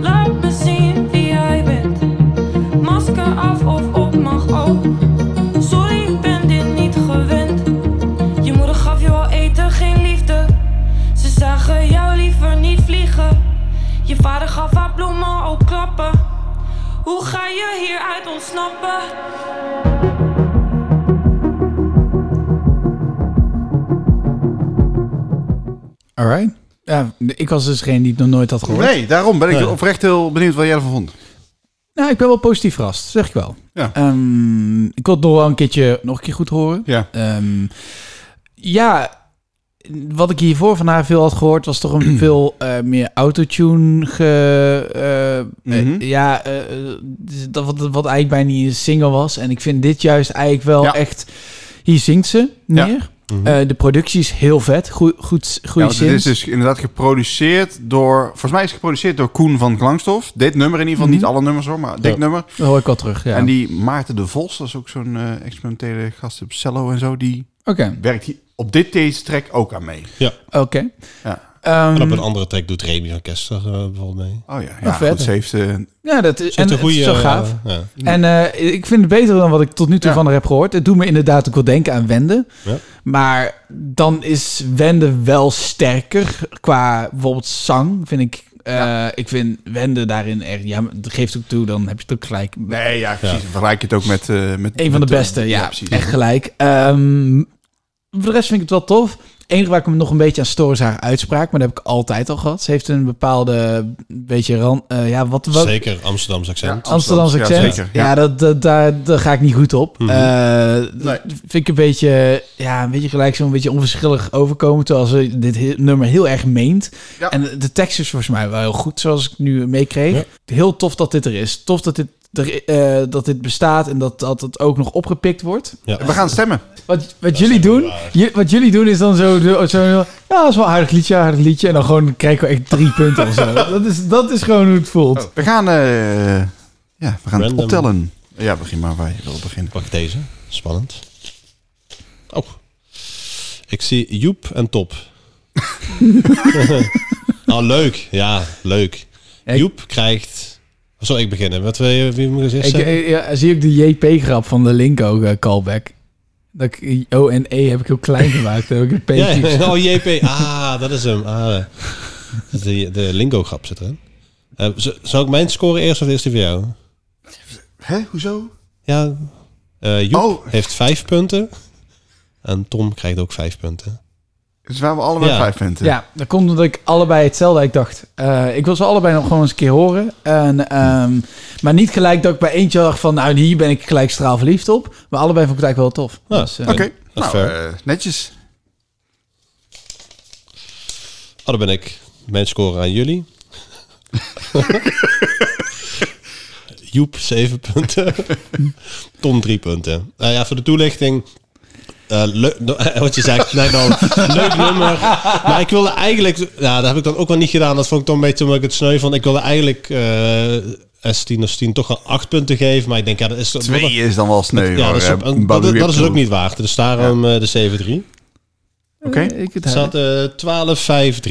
Laat me zien wie jij bent. Masker af of op mag ook. Sorry, ik ben dit niet gewend. Je moeder gaf je al eten, geen liefde. Ze zagen jou liever niet vliegen. Je vader gaf haar bloemen ook klappen. Hoe ga je hieruit ontsnappen?
Alright. Ja, ik was dus degene die het nog nooit had gehoord.
Nee, daarom ben ik
Nee.
oprecht heel benieuwd wat jij ervan vond.
Nou, ik ben wel positief verrast, zeg ik wel.
Ja.
Ehm, ik wil het nog wel een keertje nog een keer goed horen.
Ja.
Ehm, ja, wat ik hiervoor van haar veel had gehoord, was
[CLEARS THROAT]
toch een veel eh, meer autotune. Ge, eh, eh,
Mhm.
Ja, eh, eh, dat, wat, wat eigenlijk bijna niet een single was. En ik vind dit juist eigenlijk wel echt. Hier zingt ze meer. Eh, de productie is heel vet. Goed, goed,
Mhm. Ja,
goede
want
zin.
dit is dus inderdaad geproduceerd door... Volgens mij is het geproduceerd door Koen van Klangstof. Dit nummer in ieder geval,
Mhm.
niet alle nummers hoor, maar dit
Ja.
nummer.
Dat hoor ik wel terug, ja.
En die Maarten de Vos, dat is ook zo'n eh, experimentele gast op cello en zo. Die
Oké.
werkt hier op dit deze track ook aan mee.
Ja.
Oké.
Ja.
en op een andere track doet Remy van Kester eh, bijvoorbeeld mee.
Oh ja,
ja, vet. goed, ze
heeft... eh,
Ja, dat is, en,
een
het is
goede,
zo gaaf.
eh, ja.
En eh, ik vind het beter dan wat ik tot nu toe van haar heb gehoord. Het doet me inderdaad ook wel denken aan Wende.
Ja.
Maar dan is Wende wel sterker qua bijvoorbeeld zang, vind ik. Eh, Ik vind Wende daarin echt... Ja, maar dat geeft ook toe, dan heb je het ook gelijk.
Nee, ja, precies. Vergelijk je het ook met... eh met
Een van de
met, eh,
beste, ja.
precies.
echt gelijk. Ehm, voor de rest vind ik het wel tof. Het enige waar ik me nog een beetje aan stoor is haar uitspraak. Maar dat heb ik altijd al gehad. Ze heeft een bepaalde, beetje... Ran, eh, ja, wat, wat,
Zeker Amsterdams accent.
Amsterdamse accent. Ja, dat, dat, daar, daar ga ik niet goed op.
Mhm.
Eh, dat Vind ik een beetje, ja, een beetje gelijk zo'n beetje onverschillig overkomen. Terwijl ze dit he- nummer heel erg meent. En de tekst is volgens mij wel heel goed, zoals ik nu meekreeg. Heel tof dat dit er is. Tof dat dit, er, eh, dat dit bestaat en dat, dat het ook nog opgepikt wordt.
We gaan stemmen.
Wat, wat jullie doen, ju- wat jullie doen is dan zo, zo, zo- ja, dat is wel een aardig liedje, aardig liedje. En dan gewoon krijgen we echt drie punten of zo. Dat is, dat is gewoon hoe het voelt.
We gaan, eh, ja, we gaan het
Random.
optellen. Ja, begin maar waar je wil beginnen.
Pak deze. Spannend. Oh. Ik zie Joep
[LAUGHS]
en Top. oh, leuk. Ja, leuk. Joep krijgt... Zal ik beginnen? Wat wil je, wie moet
Ik,
ik zeggen?
eh, ja, zie ik de JP-grap van de link ook, eh, callback. Dat ik, O en E heb ik heel
[LAUGHS]
klein gemaakt. heb ik een P
Ja,
ja,
[LAUGHS] oh, JP. Ah, dat is hem. Ah, de, de lingo-grap zit erin. Eh, z- zal ik mijn score eerst of eerst die van jou?
Hè, hoezo?
Ja. eh, Joep heeft vijf punten. En Tom krijgt ook vijf punten.
Dus we hebben allebei
Ja.
vijf punten.
Ja, dat komt omdat ik allebei hetzelfde ik dacht. eh, ik wil ze allebei nog gewoon eens een keer horen. En, ehm, maar niet gelijk dat ik bij eentje dacht van... nou, hier ben ik gelijk straalverliefd op. Maar allebei vond ik het eigenlijk wel tof.
Ja,
Dus, eh,
Oké, nou, eh, netjes.
Oh, daar ben ik. Mijn score aan jullie. Joep, 7 punten. Tom, 3 punten. Nou ja, voor de toelichting. eh, leuk, wat je zegt, nee, nou, leuk nummer. Maar ik wilde eigenlijk, ja, dat heb ik dan ook wel niet gedaan. Dat vond ik toch een beetje omdat ik het sneu vond. Ik wilde eigenlijk eh S10 of 10 toch wel 8 punten geven. Maar ik denk, ja, dat is...
Twee is dan wel sneu.
ja,
hoor,
dat is,
eh,
ook- dat,
Badoer
dat is
Pro.
ook niet waard. Dus daarom eh, de 7-3.
Oké.
ik het
Er staat eh,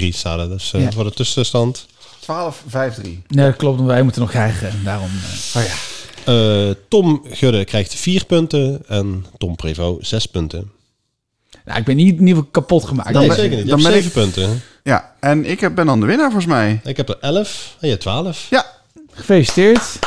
12-5-3 staat er. Dus eh,
Ja.
voor de tussenstand.
12, 5, 3.
Nee, dat klopt. want Wij moeten nog krijgen. Daarom... eh.
Eh, Tom Gudde krijgt 4 punten en Tom Prevo 6 punten.
Nou, ik ben niet in ieder geval kapot gemaakt. Dus,
nee, zeker niet. Je hebt 7 punten.
Ja, en ik heb, ben dan de winnaar volgens mij.
Ik heb er 11 en je hebt 12.
Ja.
Gefeliciteerd.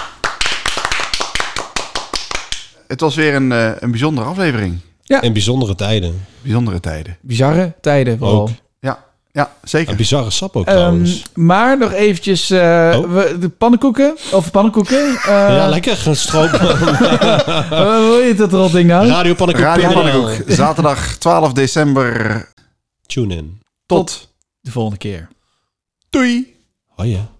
Het was weer een, eh, een bijzondere aflevering.
Ja.
In bijzondere tijden.
Bijzondere tijden.
Bizarre tijden vooral.
Ook.
Ja, ja zeker.
Een bizarre sap ook
Ehm,
trouwens.
maar nog eventjes eh, we, de pannenkoeken. Of pannenkoeken. eh,
ja, lekker. Een
[LAUGHS]
stroop.
eh, hoe heet dat rot ding nou?
Radio Pannenkoek.
Radio
PNL.
Pannenkoek, zaterdag 12 december.
Tune in.
Tot
de volgende keer.
Doei!
Hoi. hè.